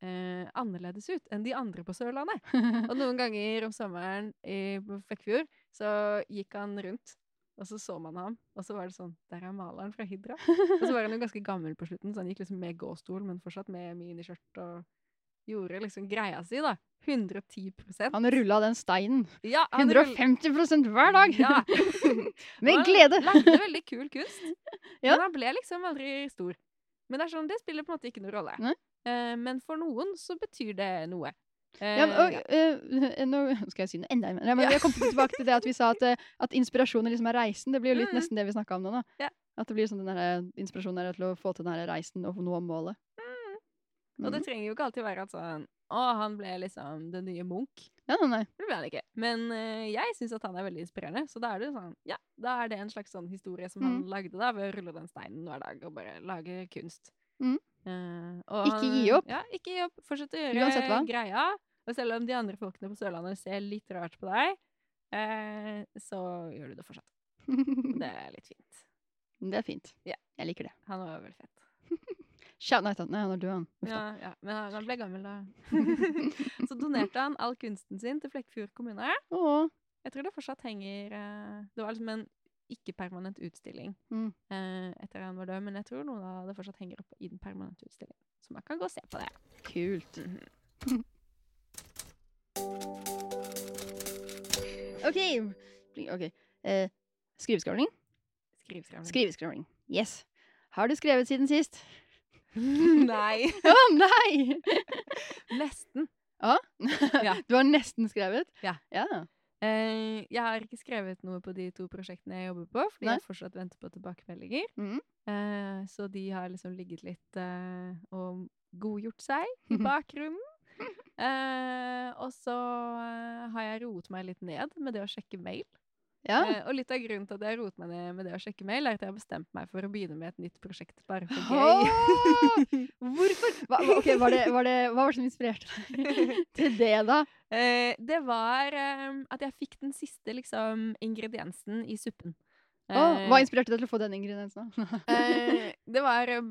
Speaker 2: eh, annerledes ut enn de andre på Sørlandet. Og noen ganger om sommeren i, på Flekkefjord så gikk han rundt, og så så man ham, og så var det sånn Der er maleren fra Hidra. Og så var han jo ganske gammel på slutten, så han gikk liksom med gåstol, men fortsatt med miniskjørt og gjorde liksom greia si, da. 110
Speaker 1: han rulla den steinen
Speaker 2: ja, han rull-
Speaker 1: 150 hver dag!
Speaker 2: Ja.
Speaker 1: Med
Speaker 2: Han
Speaker 1: glede!
Speaker 2: Lagde veldig kul kunst.
Speaker 1: Ja.
Speaker 2: Men han ble liksom aldri stor. Men det er sånn, det spiller på en måte ikke noen rolle.
Speaker 1: Nei.
Speaker 2: Eh, men for noen så betyr det noe. Eh,
Speaker 1: Ja, men, og,
Speaker 2: ja.
Speaker 1: eh, nå skal jeg si noe enda mer. Nei, men
Speaker 2: Ja.
Speaker 1: Jeg kom tilbake til det at vi sa at, eh, at inspirasjonen liksom er reisen. Det blir jo litt
Speaker 2: Mhm.
Speaker 1: nesten det vi snakka om nå. da.
Speaker 2: Ja.
Speaker 1: At det blir sånn den her inspirasjonen er til å få til den her reisen og nå målet.
Speaker 2: Og
Speaker 1: Mhm.
Speaker 2: det trenger jo ikke alltid være at sånn Å, han ble liksom den nye Munch.
Speaker 1: Ja, nei, nei.
Speaker 2: For Det ble han ikke. Men eh, jeg syns at han er veldig inspirerende, så da er det jo sånn Ja, da er det en slags sånn historie som
Speaker 1: Mhm.
Speaker 2: han lagde, da, ved å rulle den steinen hver dag og bare lage kunst.
Speaker 1: Mm.
Speaker 2: Eh, og
Speaker 1: Ikke
Speaker 2: han-
Speaker 1: gi opp.
Speaker 2: Ja, ikke gi opp. Fortsett å
Speaker 1: Uansett
Speaker 2: gjøre
Speaker 1: hva.
Speaker 2: greia. Og selv om de andre folkene på Sørlandet ser litt rart på deg, eh, så gjør du det fortsatt. Det
Speaker 1: det.
Speaker 2: er litt fint.
Speaker 1: er fint.
Speaker 2: Ja.
Speaker 1: Jeg liker det.
Speaker 2: Han var jo veldig fett.
Speaker 1: Shout out, han. Nei, han er død, han. Uff da.
Speaker 2: Ja, ja. Men han, han ble gammel da. så donerte han all kunsten sin til Flekkefjord kommune.
Speaker 1: Åh.
Speaker 2: Jeg tror det fortsatt henger eh, Det var liksom en ikke-permanent utstilling
Speaker 1: Mm.
Speaker 2: eh, etter han var død, men jeg tror noen av det fortsatt henger opp i den permanente utstillingen. Så man kan gå og se på det.
Speaker 1: Kult. OK. Bli- ok. Eh, skriveskravling?
Speaker 2: Skriveskravling.
Speaker 1: Skriveskravling. Yes. Har du skrevet siden sist?
Speaker 2: Nei.
Speaker 1: Å nei!
Speaker 2: Nesten. Ja.
Speaker 1: Du har nesten skrevet?
Speaker 2: Ja. Eh, jeg har ikke skrevet noe på de to prosjektene jeg jobber på, fordi
Speaker 1: Nei.
Speaker 2: jeg fortsatt venter på tilbakemeldinger.
Speaker 1: Mhm.
Speaker 2: Eh, så de har liksom ligget litt eh, og godgjort seg i bakgrunnen. Eh, og så eh, har jeg roet meg litt ned med det å sjekke mail.
Speaker 1: ja.
Speaker 2: Eh, og litt av grunnen til at jeg har roet meg ned med det å sjekke mail, er at jeg har bestemt meg for å begynne med et nytt prosjekt bare for gøy.
Speaker 1: Åh! Hvorfor? Hva, hva- ok, var det, var det, hva var det som inspirerte deg til det, da?
Speaker 2: Eh, det var eh, at jeg fikk den siste liksom, ingrediensen i suppen.
Speaker 1: Åh,
Speaker 2: Eh,
Speaker 1: hva inspirerte deg til å få den ingrediensen? da?
Speaker 2: Eh, det var eh,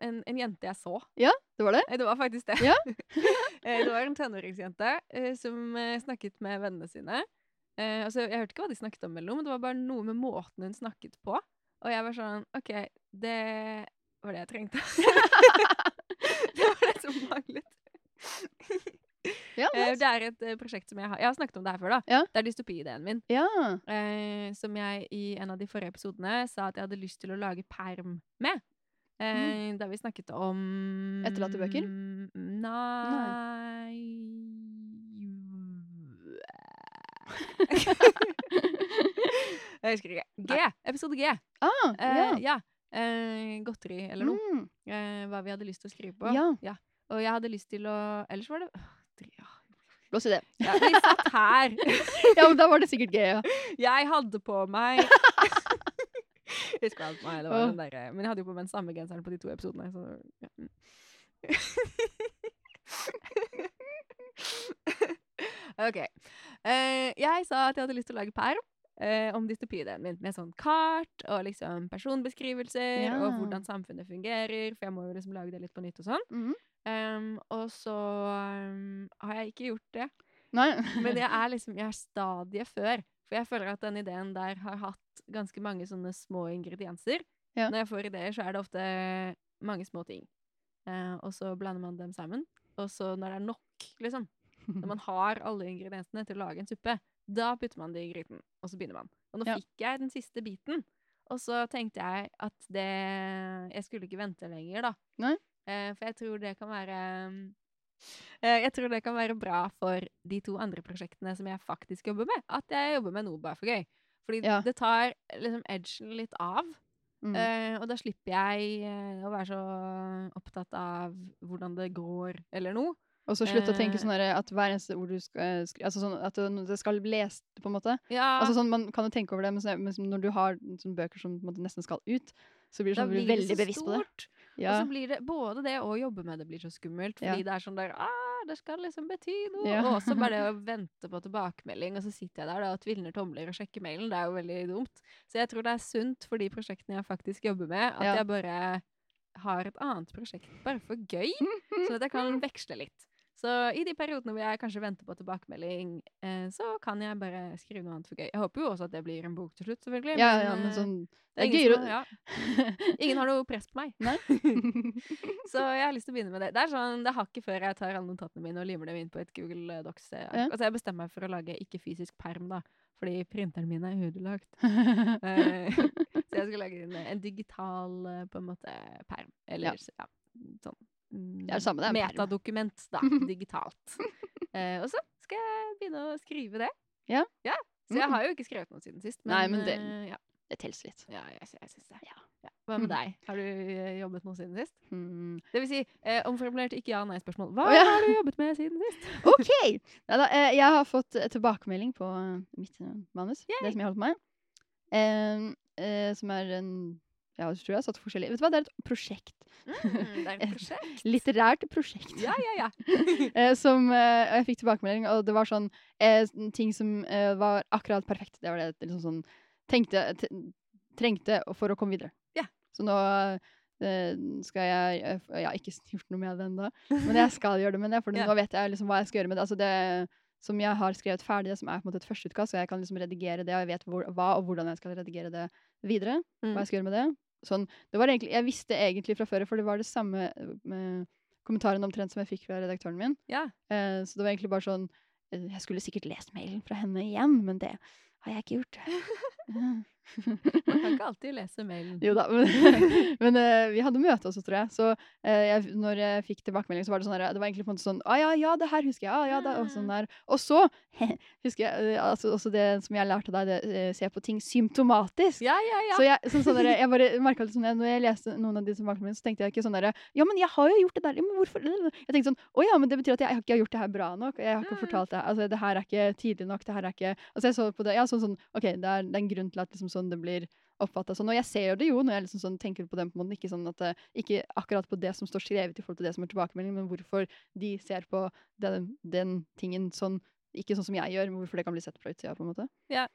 Speaker 2: en, en jente jeg så.
Speaker 1: Det var det?
Speaker 2: Nei, det var faktisk det.
Speaker 1: Ja.
Speaker 2: Eh, det var en tenåringsjente eh, som eh, snakket med vennene sine. Eh, altså, jeg hørte ikke hva de snakket om, mellom, men det var bare noe med måten hun snakket på. Og jeg var sånn OK, det var det jeg trengte. det var det som manglet.
Speaker 1: Ja.
Speaker 2: Eh,
Speaker 1: nice.
Speaker 2: det er et eh, prosjekt som jeg har Jeg har snakket om det her før, da.
Speaker 1: Ja.
Speaker 2: Det er dystopi-ideen min.
Speaker 1: ja.
Speaker 2: Eh, som jeg i en av de forrige episodene sa at jeg hadde lyst til å lage perm med.
Speaker 1: Mm.
Speaker 2: Eh, Da vi snakket om
Speaker 1: Etterlatte bøker?
Speaker 2: Nei Jeg husker ikke. G! Episode G.
Speaker 1: Ah,
Speaker 2: Eh,
Speaker 1: ja.
Speaker 2: ja. Eh, godteri eller noe.
Speaker 1: Mm.
Speaker 2: Eh, hva vi hadde lyst til å skrive på.
Speaker 1: Ja.
Speaker 2: Og jeg hadde lyst til å Ellers var det Åh, dri- ja.
Speaker 1: Blås i det.
Speaker 2: ja, Vi satt her.
Speaker 1: Ja, men da var det sikkert gøy, ja.
Speaker 2: Jeg hadde på meg Jeg husker alt meg, det var
Speaker 1: Åh.
Speaker 2: den der, eh, Men jeg hadde jo på meg den samme genseren på de to episodene. Så, ja. mm. ok. Eh, jeg sa at jeg hadde lyst til å lage perm eh, om dystopideen min. Med sånn kart og liksom personbeskrivelser
Speaker 1: Ja.
Speaker 2: og hvordan samfunnet fungerer. For jeg må jo liksom lage det litt på nytt og sånn.
Speaker 1: Mhm.
Speaker 2: Em, og så em, har jeg ikke gjort det.
Speaker 1: Nei.
Speaker 2: Men jeg er liksom, jeg er stadiet før. For jeg føler at den ideen der har hatt ganske mange sånne små ingredienser.
Speaker 1: Ja.
Speaker 2: Når jeg får ideer, så er det ofte mange små ting. Eh, og så blander man dem sammen. Og så når det er nok, liksom, når man har alle ingrediensene til å lage en suppe, da putter man det i gryten, og så begynner man. Og nå
Speaker 1: Ja.
Speaker 2: fikk jeg den siste biten, og så tenkte jeg at det Jeg skulle ikke vente lenger, da.
Speaker 1: Nei.
Speaker 2: Eh, for jeg tror det kan være eh, Jeg tror det kan være bra for de to andre prosjektene som jeg faktisk jobber med. At jeg jobber med noe bare for gøy. Fordi
Speaker 1: Ja.
Speaker 2: det tar liksom edgen litt av.
Speaker 1: Mm.
Speaker 2: Eh, og da slipper jeg eh, å være så opptatt av hvordan det går, eller noe.
Speaker 1: Og så slutt å tenke
Speaker 2: eh,
Speaker 1: sånn der at hver eneste ord du skal skrive Altså sånn at det- det skal bli lest, på en måte.
Speaker 2: Ja,
Speaker 1: Altså sånn, Man kan jo tenke over det, men, så, men som når du har sånne bøker som på en måte nesten skal ut, så blir det sånn, du blir veldig bevisst på det.
Speaker 2: stort.
Speaker 1: Ja.
Speaker 2: Og så blir det både det å jobbe med det blir så skummelt,
Speaker 1: Ja.
Speaker 2: fordi det er sånn der ah, Det skal liksom bety noe.
Speaker 1: Ja.
Speaker 2: Og også bare det å vente på tilbakemelding, og så sitter jeg der da, og tvilner tomler og sjekker mailen. Det er jo veldig dumt. Så jeg tror det er sunt for de prosjektene jeg faktisk jobber med, at
Speaker 1: Ja.
Speaker 2: jeg bare har et annet prosjekt bare for gøy, sånn at jeg kan veksle litt. Så i de periodene hvor jeg kanskje venter på tilbakemelding, eh, så kan jeg bare skrive noe annet for gøy. Jeg håper jo også at det blir en bok til slutt, selvfølgelig.
Speaker 1: ja, ja, men
Speaker 2: eh,
Speaker 1: sånn
Speaker 2: det er
Speaker 1: Det er
Speaker 2: ingen, som,
Speaker 1: gøyere
Speaker 2: ja. ingen har noe press på meg. Så jeg har lyst til å begynne med det. Det er sånn, det har ikke før jeg tar alle notatene mine og limer dem inn på et Google Docs. eh,
Speaker 1: Ja.
Speaker 2: Altså, jeg bestemmer meg for å lage ikke-fysisk perm, da. Fordi printeren min er ødelagt. Eh, så jeg skal lage en, en digital eh, på en måte, perm.
Speaker 1: Ja.
Speaker 2: Eller s- ja. sånn mm,
Speaker 1: Det er det samme, det er en perm.
Speaker 2: Metadokument, da. Digitalt. Eh, og så skal jeg begynne å skrive det.
Speaker 1: Ja.
Speaker 2: Så jeg
Speaker 1: Mm.
Speaker 2: har jo ikke skrevet noe siden sist.
Speaker 1: Nei, men det-
Speaker 2: eh, ja.
Speaker 1: Det teller litt.
Speaker 2: Ja, jeg, sy- jeg syns det. Ja. Hva med
Speaker 1: Mhm.
Speaker 2: deg? Har du eh, jobbet noe siden sist?
Speaker 1: Hmm.
Speaker 2: Det vil si, eh, omformulert ikke ja-nei-spørsmål. Hva
Speaker 1: Å, ja.
Speaker 2: har du jobbet med siden sist?
Speaker 1: OK! Neida, eh, jeg har fått eh, tilbakemelding på eh, mitt eh, manus, det som jeg holdt på med. Eh, eh, som er en Ja, jeg tror jeg har satt forskjellig Vet du hva, det er et prosjekt.
Speaker 2: det er
Speaker 1: Mm, Et
Speaker 2: et prosjekt.
Speaker 1: Litterært prosjekt.
Speaker 2: Ja, ja, ja.
Speaker 1: Eh, som, eh, og jeg fikk tilbakemelding, og det var sånn eh, s- ting som eh, var akkurat perfekt. Det var det jeg liksom sånn tenkte, t trengte å- for å komme videre.
Speaker 2: Ja.
Speaker 1: Så nå eh, skal jeg eh, f- Jeg har ikke s- gjort noe med det ennå, men jeg skal gjøre det med det. For
Speaker 2: Ja.
Speaker 1: nå vet jeg liksom hva jeg skal gjøre med det. Altså det som jeg har skrevet ferdig, det som er på en måte et førsteutkast, så jeg kan liksom redigere det, og jeg vet hvor, hva og hvordan jeg skal redigere det videre.
Speaker 2: Mm.
Speaker 1: Hva jeg skal gjøre med det. Sånn, det var egentlig, jeg visste egentlig fra før, for det var det samme eh, med kommentaren omtrent som jeg fikk fra redaktøren min.
Speaker 2: ja.
Speaker 1: Eh, så det var egentlig bare sånn Eh, Jeg skulle sikkert lest mailen fra henne igjen, men det har jeg ikke gjort.
Speaker 2: Man kan ikke alltid lese mailen.
Speaker 1: Jo da, men, men eh, vi hadde møte også, tror jeg. Så eh, jeg, når jeg fikk tilbakemelding, så var det sånn her, det var egentlig på en måte sånn ah, ja, ja, det her husker jeg. Ah, ja, det, og, sånn der. og så husker jeg eh, altså, også det som jeg lærte deg, det eh, se på ting symptomatisk.
Speaker 2: Ja, ja, ja.
Speaker 1: Så jeg, sånn, sånn der, jeg bare merket litt sånn, jeg- når jeg leste noen av de tilbakemeldingene, så tenkte jeg ikke sånn der, ja, men jeg har jo gjort det der, ja, men hvorfor? Jeg tenkte sånn, å ja, men det betyr at jeg ikke har gjort det her bra nok, jeg har ikke
Speaker 2: Mm.
Speaker 1: fortalt det her, altså det her er ikke tidlig nok, det her er ikke, altså jeg så på det, ja, sånn sånn, ok, det er, det er en grunn til at liksom sånn det blir oppfattet sånn, og jeg ser det jo når jeg liksom sånn tenker på den på en måte, ikke sånn at, det- ikke akkurat på det som står skrevet i forhold til det som er tilbakemelding, men hvorfor de ser på den, den tingen sånn, ikke sånn som jeg gjør, men hvorfor det kan bli sett fra utsida på en måte.
Speaker 2: Ja.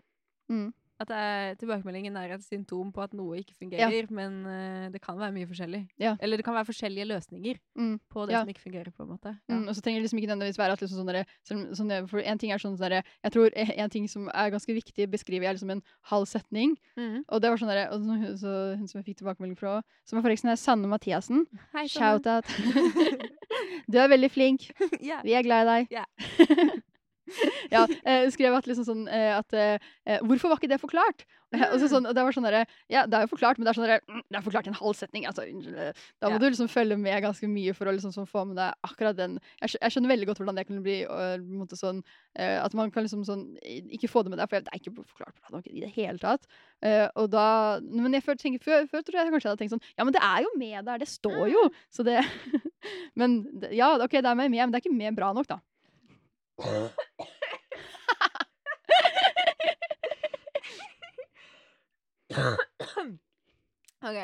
Speaker 1: Mm.
Speaker 2: At det er, tilbakemeldingen er et symptom på at noe ikke fungerer, men eh, det kan være mye forskjellig.
Speaker 1: Ja.
Speaker 2: Eller det kan være forskjellige løsninger
Speaker 1: Mm.
Speaker 2: på det
Speaker 1: Ja.
Speaker 2: som ikke fungerer, på en måte. Ja.
Speaker 1: Mm, og så trenger det liksom ikke nødvendigvis være at liksom sånn derre- selv om- sånn der- For en ting er sånn derre Jeg tror eh, en ting som er ganske viktig, beskriver jeg liksom en halv setning.
Speaker 2: Mhm.
Speaker 1: Og det var sånn derre og så, hun- så hun som jeg fikk tilbakemelding fra, som er forresten er sånn Sanne Mathiassen.
Speaker 2: Hei, Sanne.
Speaker 1: Shout-out. du er veldig flink.
Speaker 2: ja.
Speaker 1: Vi er glad i deg.
Speaker 2: Ja.
Speaker 1: ja, eh, skrev at liksom sånn eh, at eh, eh, Hvorfor var ikke det forklart? Eh, Og, så sånn, og det var sånn derre Ja, det er jo forklart, men det er sånn derre mm, Det er forklart i en halv setning. Altså, unnskyld, eh, da må
Speaker 2: Ja.
Speaker 1: du liksom følge med ganske mye for å liksom sånn få med deg akkurat den Jeg, skj- jeg skjønner veldig godt hvordan det kan bli og, på en måte sånn eh, At man kan liksom sånn i- Ikke få det med deg, for det er ikke forklart bra nok i det hele tatt. Eh, og da Men jeg før, tenker, før, før tror jeg kanskje jeg hadde tenkt sånn Ja, men det er jo med der, det står jo!
Speaker 2: Mm.
Speaker 1: Så det Men det- ja, OK, det er med, med men det er ikke med bra nok, da.
Speaker 2: Ok.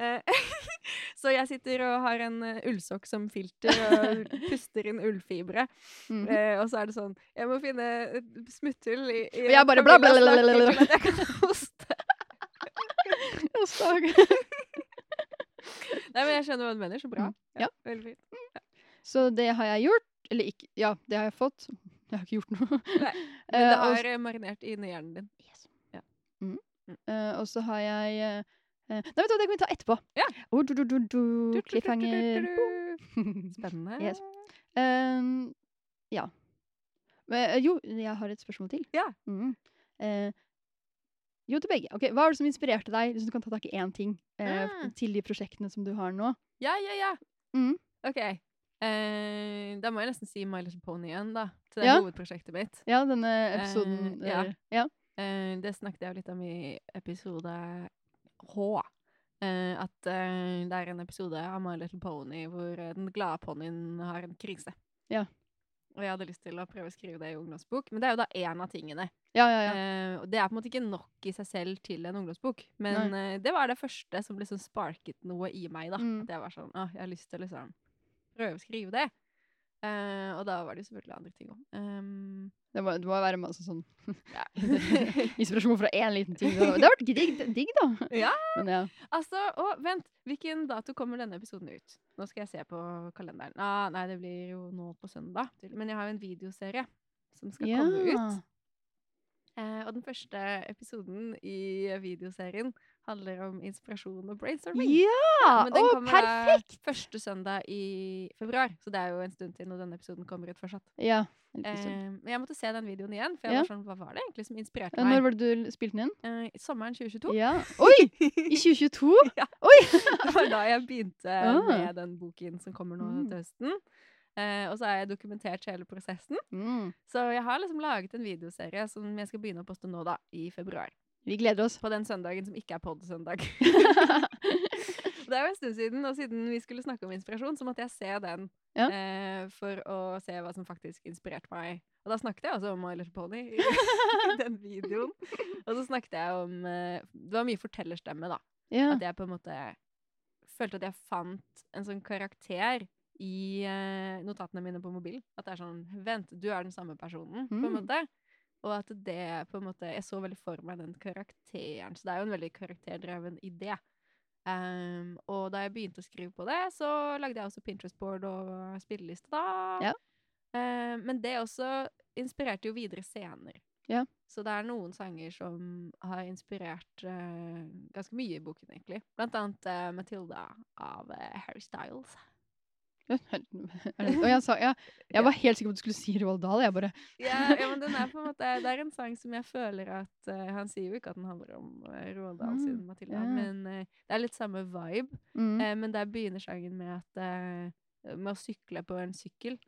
Speaker 2: Eh, så jeg sitter og har en eh, ullsokk som filter og puster inn ullfibre.
Speaker 1: Mhm.
Speaker 2: Eh, og så er det sånn Jeg må finne et smutthull i, i
Speaker 1: Og jeg bare bla, bla,
Speaker 2: Camillas
Speaker 1: bla, bla, bla,
Speaker 2: nakke til at jeg kan hoste.
Speaker 1: Og så-
Speaker 2: Nei, men jeg skjønner hva du mener. Så bra.
Speaker 1: Mm. Ja.
Speaker 2: Veldig fint.
Speaker 1: Så det har jeg gjort. Eller ikke Ja, det har jeg fått. Jeg har ikke gjort noe.
Speaker 2: Nei, Men
Speaker 1: Eh,
Speaker 2: det
Speaker 1: og,
Speaker 2: har eh, marinert inn i hjernen din. Ja.
Speaker 1: Mm.
Speaker 2: Mm.
Speaker 1: Eh, og så har jeg eh, eh, Nei, vet du hva, det kan vi ta etterpå.
Speaker 2: Ja.
Speaker 1: Oh, du, du, du, du,
Speaker 2: Du, du, du, du, du,
Speaker 1: cliffhanger.
Speaker 2: du. Spennende.
Speaker 1: Yes. Ehm, ja. Men, eh, jo, jeg har et spørsmål til.
Speaker 2: Ja.
Speaker 1: Mm. Eh, jo, til begge. Ok, Hva var det som inspirerte deg? Hvis du kan ta tak i én ting eh,
Speaker 2: Mm.
Speaker 1: til de prosjektene som du har nå.
Speaker 2: Ja, ja, ja.
Speaker 1: Mm.
Speaker 2: OK. Eh, da må jeg nesten si My Little Pony igjen, da. Til det
Speaker 1: Ja.
Speaker 2: hovedprosjektet mitt.
Speaker 1: Ja, denne episoden.
Speaker 2: Eh, ja.
Speaker 1: eh, ja.
Speaker 2: Eh, det snakket jeg jo litt om i episode H. eh, at eh, det er en episode av My Little Pony hvor eh, den glade ponnien har en krise.
Speaker 1: Ja.
Speaker 2: Og jeg hadde lyst til å prøve å skrive det i ungdomsbok, men det er jo da én av tingene.
Speaker 1: ja, ja, ja.
Speaker 2: Eh, og det er på en måte ikke nok i seg selv til en ungdomsbok, men eh, det var det første som liksom sparket noe i meg. da.
Speaker 1: Mm.
Speaker 2: At jeg var sånn Åh, jeg har lyst til å liksom prøve å skrive det. Eh, og da var det jo selvfølgelig andre ting òg.
Speaker 1: Det må, det må være masse sånn
Speaker 2: ja.
Speaker 1: inspirasjon fra én liten ting. Det hadde vært digg, digg da.
Speaker 2: Ja.
Speaker 1: Men ja.
Speaker 2: Altså, å, vent! Hvilken dato kommer denne episoden ut? Nå skal jeg se på kalenderen. Ah, nei, det blir jo nå på søndag. Men jeg har jo en videoserie som skal komme ut. Eh, og den første episoden i videoserien handler om inspirasjon og brainstorming.
Speaker 1: Ja!
Speaker 2: Men den
Speaker 1: Å,
Speaker 2: kommer da
Speaker 1: perfekt!
Speaker 2: første søndag i februar, så det er jo en stund til når denne episoden kommer ut fortsatt.
Speaker 1: Ja. Liksom. en liten
Speaker 2: Eh,
Speaker 1: stund.
Speaker 2: men jeg måtte se den videoen igjen, for jeg
Speaker 1: Ja.
Speaker 2: var sånn, hva var det egentlig som inspirerte
Speaker 1: Eh, Når
Speaker 2: meg?
Speaker 1: var det du spilte den inn?
Speaker 2: Eh, sommeren 2022.
Speaker 1: Ja. Oi! I 2022?
Speaker 2: Det var da jeg begynte
Speaker 1: Ah.
Speaker 2: med den boken som kommer nå
Speaker 1: Mm.
Speaker 2: til høsten. Eh, og så har jeg dokumentert hele prosessen.
Speaker 1: Mm.
Speaker 2: Så jeg har liksom laget en videoserie som jeg skal begynne å poste nå, da, i februar.
Speaker 1: Vi gleder oss.
Speaker 2: På den søndagen som ikke er podd-søndag.
Speaker 1: ja.
Speaker 2: det er jo en stund siden, og siden vi skulle snakke om inspirasjon, så måtte jeg se den
Speaker 1: Ja.
Speaker 2: eh, for å se hva som faktisk inspirerte meg. Og da snakket jeg også om My Little Pony i, i den videoen. Og så snakket jeg om eh, Det var mye fortellerstemme, da. At jeg på en måte følte at jeg fant en sånn karakter i eh, notatene mine på mobilen. At det er sånn Vent, du er den samme personen, på en
Speaker 1: Mm.
Speaker 2: måte. Og at det på en måte Jeg så veldig for meg den karakteren. Så det er jo en veldig karakterdreven idé. Ehm, og da jeg begynte å skrive på det, så lagde jeg også Pinterest-board og spilleliste da.
Speaker 1: Ja.
Speaker 2: Ehm, men det også inspirerte jo videre senere.
Speaker 1: Ja.
Speaker 2: Så det er noen sanger som har inspirert eh, ganske mye i boken, egentlig. Blant annet eh, Matilda av eh, Harry Styles.
Speaker 1: Og jeg sa ja. Jeg var helt sikker på at du skulle si Roald Dahl. Jeg bare
Speaker 2: Ja, ja, men den er på en måte, det er en sang som jeg føler at eh, Han sier jo ikke at den handler om eh, Roald Dahl
Speaker 1: Mm,
Speaker 2: sin Matilda,
Speaker 1: ja.
Speaker 2: men eh, det er litt samme vibe.
Speaker 1: mm.
Speaker 2: Eh, men der begynner sangen med at eh, med å sykle på en sykkel.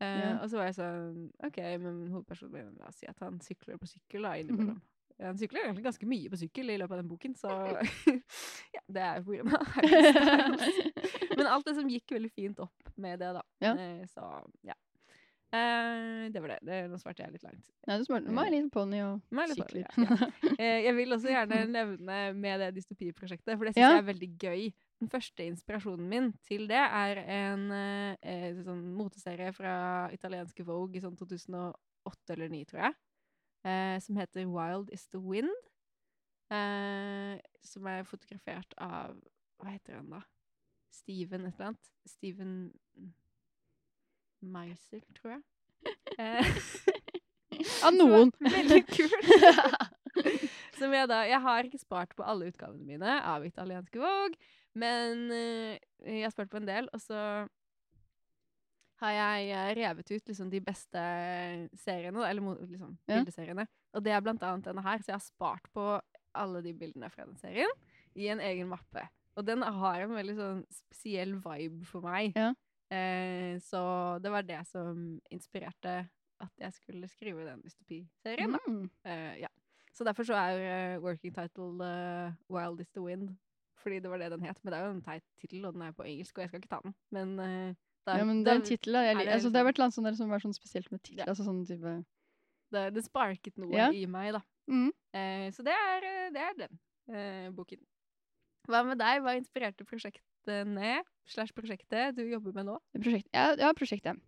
Speaker 2: Eh,
Speaker 1: Ja.
Speaker 2: Og så var jeg sånn OK, men hovedpersonen min, la oss si at han sykler på
Speaker 1: Mm.
Speaker 2: sykkel da, innimellom. Han sykler egentlig ganske mye på sykkel i løpet av den boken, så ja, det er jo på grunn av Harry Styles. Men alt det som gikk veldig fint opp med det, da.
Speaker 1: Ja.
Speaker 2: Eh, Så ja. Eh, det var det. det. Nå svarte jeg litt langt.
Speaker 1: Nei, du smarte meg en liten ponni og
Speaker 2: Meg en liten pony,
Speaker 1: sykler.
Speaker 2: Eh, jeg vil også gjerne nevne med det dystopiprosjektet, for det syns
Speaker 1: Ja.
Speaker 2: jeg er veldig gøy. Den første inspirasjonen min til det er en eh, eh, sånn moteserie fra italienske Vogue i sånn 2008 eller 2009, tror jeg, eh, som heter Wild is the Wind. Eh, som er fotografert av Hva heter han, da? Steven et eller annet. Steven Meisel, tror jeg. Eh,
Speaker 1: Av
Speaker 2: som er
Speaker 1: noen.
Speaker 2: Veldig kult. Som jeg da Jeg har ikke spart på alle utgavene mine av italienske Vogue, men eh, jeg har spart på en del, og så har jeg eh, revet ut liksom de beste seriene, da, eller mo- liksom
Speaker 1: Ja.
Speaker 2: bildeseriene. Og det er blant annet denne her, så jeg har spart på alle de bildene fra den serien i en egen mappe. Og den har en veldig sånn spesiell vibe for meg.
Speaker 1: Ja.
Speaker 2: Eh, så det var det som inspirerte at jeg skulle skrive den dystopiserien. da.
Speaker 1: Mm.
Speaker 2: Eh, ja. Så derfor så er eh, working title eh, Wild is the Wind. Fordi det var det den het. Men det er jo en teit tittel, og den er på engelsk, og jeg skal ikke ta den. Men, eh, da-
Speaker 1: Ja, men det
Speaker 2: da-
Speaker 1: er en tittel, da. Jeg,
Speaker 2: er
Speaker 1: lik-
Speaker 2: det
Speaker 1: altså, det har
Speaker 2: liksom-
Speaker 1: vært noe sånn der som er sånn spesielt med tittel.
Speaker 2: Ja.
Speaker 1: Altså sånn type
Speaker 2: da- det sparket noe
Speaker 1: Ja.
Speaker 2: i meg, da.
Speaker 1: mm.
Speaker 2: Eh, så det er, eh, det er den eh, boken. Hva med deg? Hva inspirerte prosjektene slash prosjektet du jobber med nå?
Speaker 1: eh, prosjekt. Ja, ja prosjektet.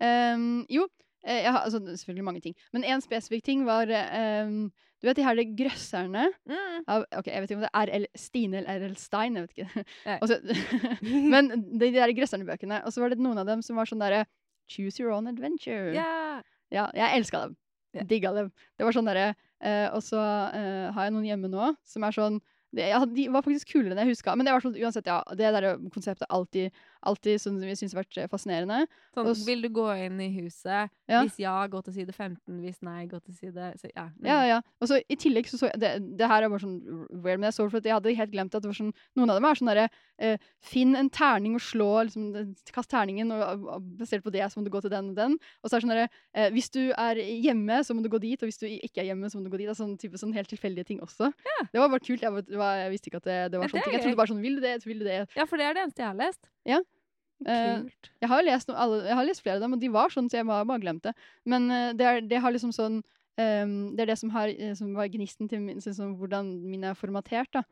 Speaker 1: Ehm, jo, eh, jeg har altså, selvfølgelig mange ting. Men én spesifikk ting var ehm, Du vet de her det grøsserne
Speaker 2: Mm.
Speaker 1: av Ok, jeg vet ikke om det er RL Stine eller RL Stein, jeg vet ikke.
Speaker 2: Nei.
Speaker 1: Altså, men de, de der grøsserne-bøkene. Og så var det noen av dem som var sånn derre Choose your own adventure.
Speaker 2: Ja.
Speaker 1: Ja, jeg elska dem.
Speaker 2: Ja.
Speaker 1: Digga dem. Det var sånn derre eh, Og så eh, har jeg noen hjemme nå som er sånn det, ja, De var faktisk kulere enn jeg huska. Men det var sånn, uansett, ja, det der konseptet er alltid, alltid sånn som vi syns har vært eh, fascinerende. Og s-
Speaker 2: Sånn, vil du gå inn i huset?
Speaker 1: Ja.
Speaker 2: Hvis ja, gå til side 15. Hvis nei, gå til side så, ja. Mm.
Speaker 1: Ja, ja. Og så i tillegg så så jeg det, det her er bare sånn weird, men jeg så det for at jeg hadde helt glemt at det var sånn Noen av dem er sånn derre eh, Finn en terning og slå liksom, den- Kast terningen, og, og basert på det så må du gå til den og den. Og så er det sånn derre eh, Hvis du er hjemme, så må du gå dit, og hvis du i- ikke er hjemme, så må du gå dit. Det er sånn type sånn helt tilfeldige ting også. Det var bare kult. Jeg, var, det var, jeg visste ikke at det, det var
Speaker 2: Ja, det
Speaker 1: sånne ting.
Speaker 2: er
Speaker 1: Jeg trodde
Speaker 2: gøy.
Speaker 1: bare sånn Vil du det? Vil du det?
Speaker 2: Ja, for det er det eneste jeg har lest.
Speaker 1: Ja. Eh,
Speaker 2: Kult.
Speaker 1: Jeg har jo lest, noe, alle, jeg har lest flere av dem, og de var sånn, så jeg har bare glemt det. Men eh, det, er, det har liksom sånn ehm, Det er det som, har, eh, som var gnisten til min, sånn, som hvordan min er formatert. da.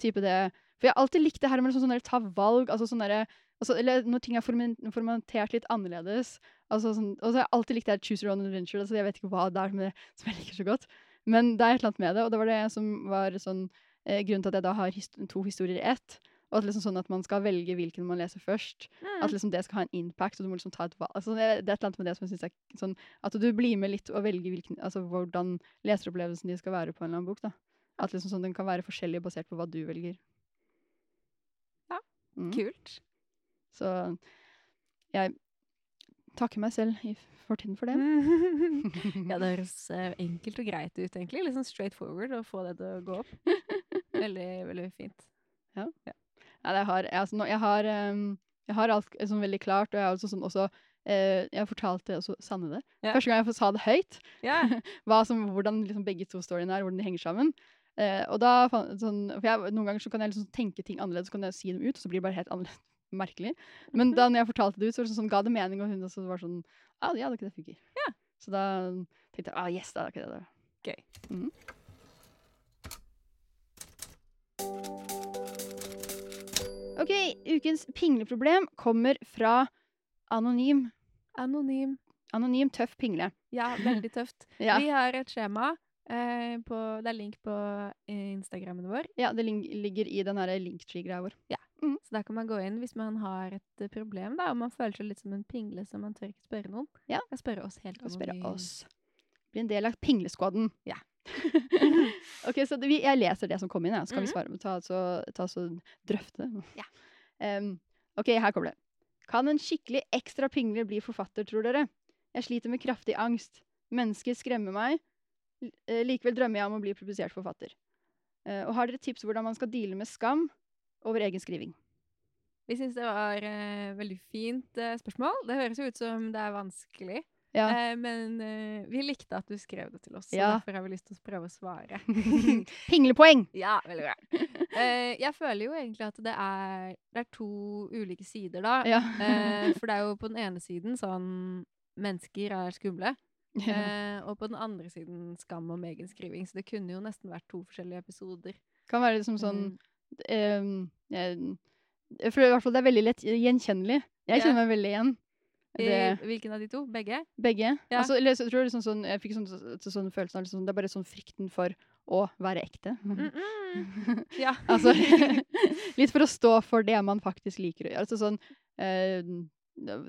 Speaker 1: Type det. For jeg har alltid likt det her med sånn, sånn der, ta valg, altså sånn derre altså, Eller når ting er formen- formatert litt annerledes. altså sånn, Og så har jeg alltid likt det her choose your own adventure. Altså, jeg vet ikke hva det er med, som jeg liker så godt. Men det er et eller annet med det, og det var det som var sånn eh, grunnen til at jeg da har hist to historier i ett. Og at liksom sånn at man skal velge hvilken man leser først.
Speaker 2: Mm.
Speaker 1: At liksom det skal ha en impact, og du må liksom ta et valg. Altså, det det er et eller annet med det som jeg synes er sånn At du blir med litt og velger hvilken, altså, hvordan leseropplevelsen din skal være på en eller annen bok. da. At liksom sånn, den kan være forskjellig basert på hva du velger. Mm.
Speaker 2: Kult.
Speaker 1: Så jeg takker meg selv i fortiden for det.
Speaker 2: ja, det høres eh, enkelt og greit ut, egentlig. Litt sånn straight forward å få det til å gå opp. Veldig, veldig fint.
Speaker 1: Nei, jeg har, jeg, altså, nå, jeg har, ehm, jeg har alt eh, sånn veldig klart, og jeg har også sånn også eh, Jeg fortalte også Sanne det.
Speaker 2: Ja.
Speaker 1: Første gang jeg sa det høyt,
Speaker 2: Ja.
Speaker 1: hva som, hvordan liksom begge to storyene er, hvordan de henger sammen. Eh, og da, fan- sånn, for jeg, Noen ganger så kan jeg liksom tenke ting annerledes, så kan jeg si dem ut, og så blir det bare helt annerledes. Merkelig. Men da når jeg fortalte det ut, så var det sånn, sånn, ga det mening, og hun også var sånn ah, Ja, det er ikke det funker. Så da tenkte jeg ah, yes, da er det ikke det. Da.
Speaker 2: Gøy.
Speaker 1: Mhm. OK, ukens pingleproblem kommer fra anonym,
Speaker 2: Anonym.
Speaker 1: anonym tøff pingle.
Speaker 2: Ja, veldig tøft.
Speaker 1: Ja.
Speaker 2: Vi har et skjema. Eh, på, det er link på eh, Instagrammen vår,
Speaker 1: Ja, det ling- ligger i den her linktree-greia vår.
Speaker 2: så der kan man gå inn hvis man har et eh, problem, da, og man føler seg litt som en pingle som man tør ikke spørre noen.
Speaker 1: Ja.
Speaker 2: Kan spørre oss helt
Speaker 1: Og spørre
Speaker 2: anonymt.
Speaker 1: oss. Bli en del av pingleskvadden.
Speaker 2: Ja.
Speaker 1: ok, så det, vi, jeg leser det som kom inn, jeg. så kan
Speaker 2: Mhm.
Speaker 1: vi svare, ta så, ta så drøfte.
Speaker 2: Ja.
Speaker 1: Em, ok, her kommer det. Kan en skikkelig ekstra pingle bli forfatter, tror dere? Jeg sliter med kraftig angst. Mennesker skremmer meg. L- eh, Likevel drømmer jeg om å bli publisert forfatter. Eh, Og har dere tips hvordan man skal deale med skam over egen skriving?
Speaker 2: Vi syns det var eh, veldig fint eh, spørsmål. Det høres jo ut som det er vanskelig,
Speaker 1: Ja.
Speaker 2: eh, men eh, vi likte at du skrev det til oss, så
Speaker 1: Ja.
Speaker 2: derfor har vi lyst til å prøve å svare.
Speaker 1: Pinglepoeng!
Speaker 2: ja, veldig bra. Eh, jeg føler jo egentlig at det er, det er to ulike sider, da.
Speaker 1: Ja.
Speaker 2: Eh, for det er jo på den ene siden sånn Mennesker er skumle. Eh, og på den andre siden skam om egen skriving. Så det kunne jo nesten vært to forskjellige episoder.
Speaker 1: Kan være liksom sånn
Speaker 2: Mm.
Speaker 1: ehm, eh, For i hvert fall det er veldig lett gjenkjennelig. Jeg
Speaker 2: Ja.
Speaker 1: kjenner meg veldig igjen. Det,
Speaker 2: Mm. I, hvilken av de to? Begge?
Speaker 1: begge.
Speaker 2: Ja.
Speaker 1: Altså, eller, så tror jeg, liksom sånn, jeg fikk sånn, så- sånn følelsen av liksom, Det er bare sånn frykten for å være ekte.
Speaker 2: Mm -mm. Ja.
Speaker 1: Mhm. altså, litt for å stå for det man faktisk liker å gjøre. Altså sånn eh,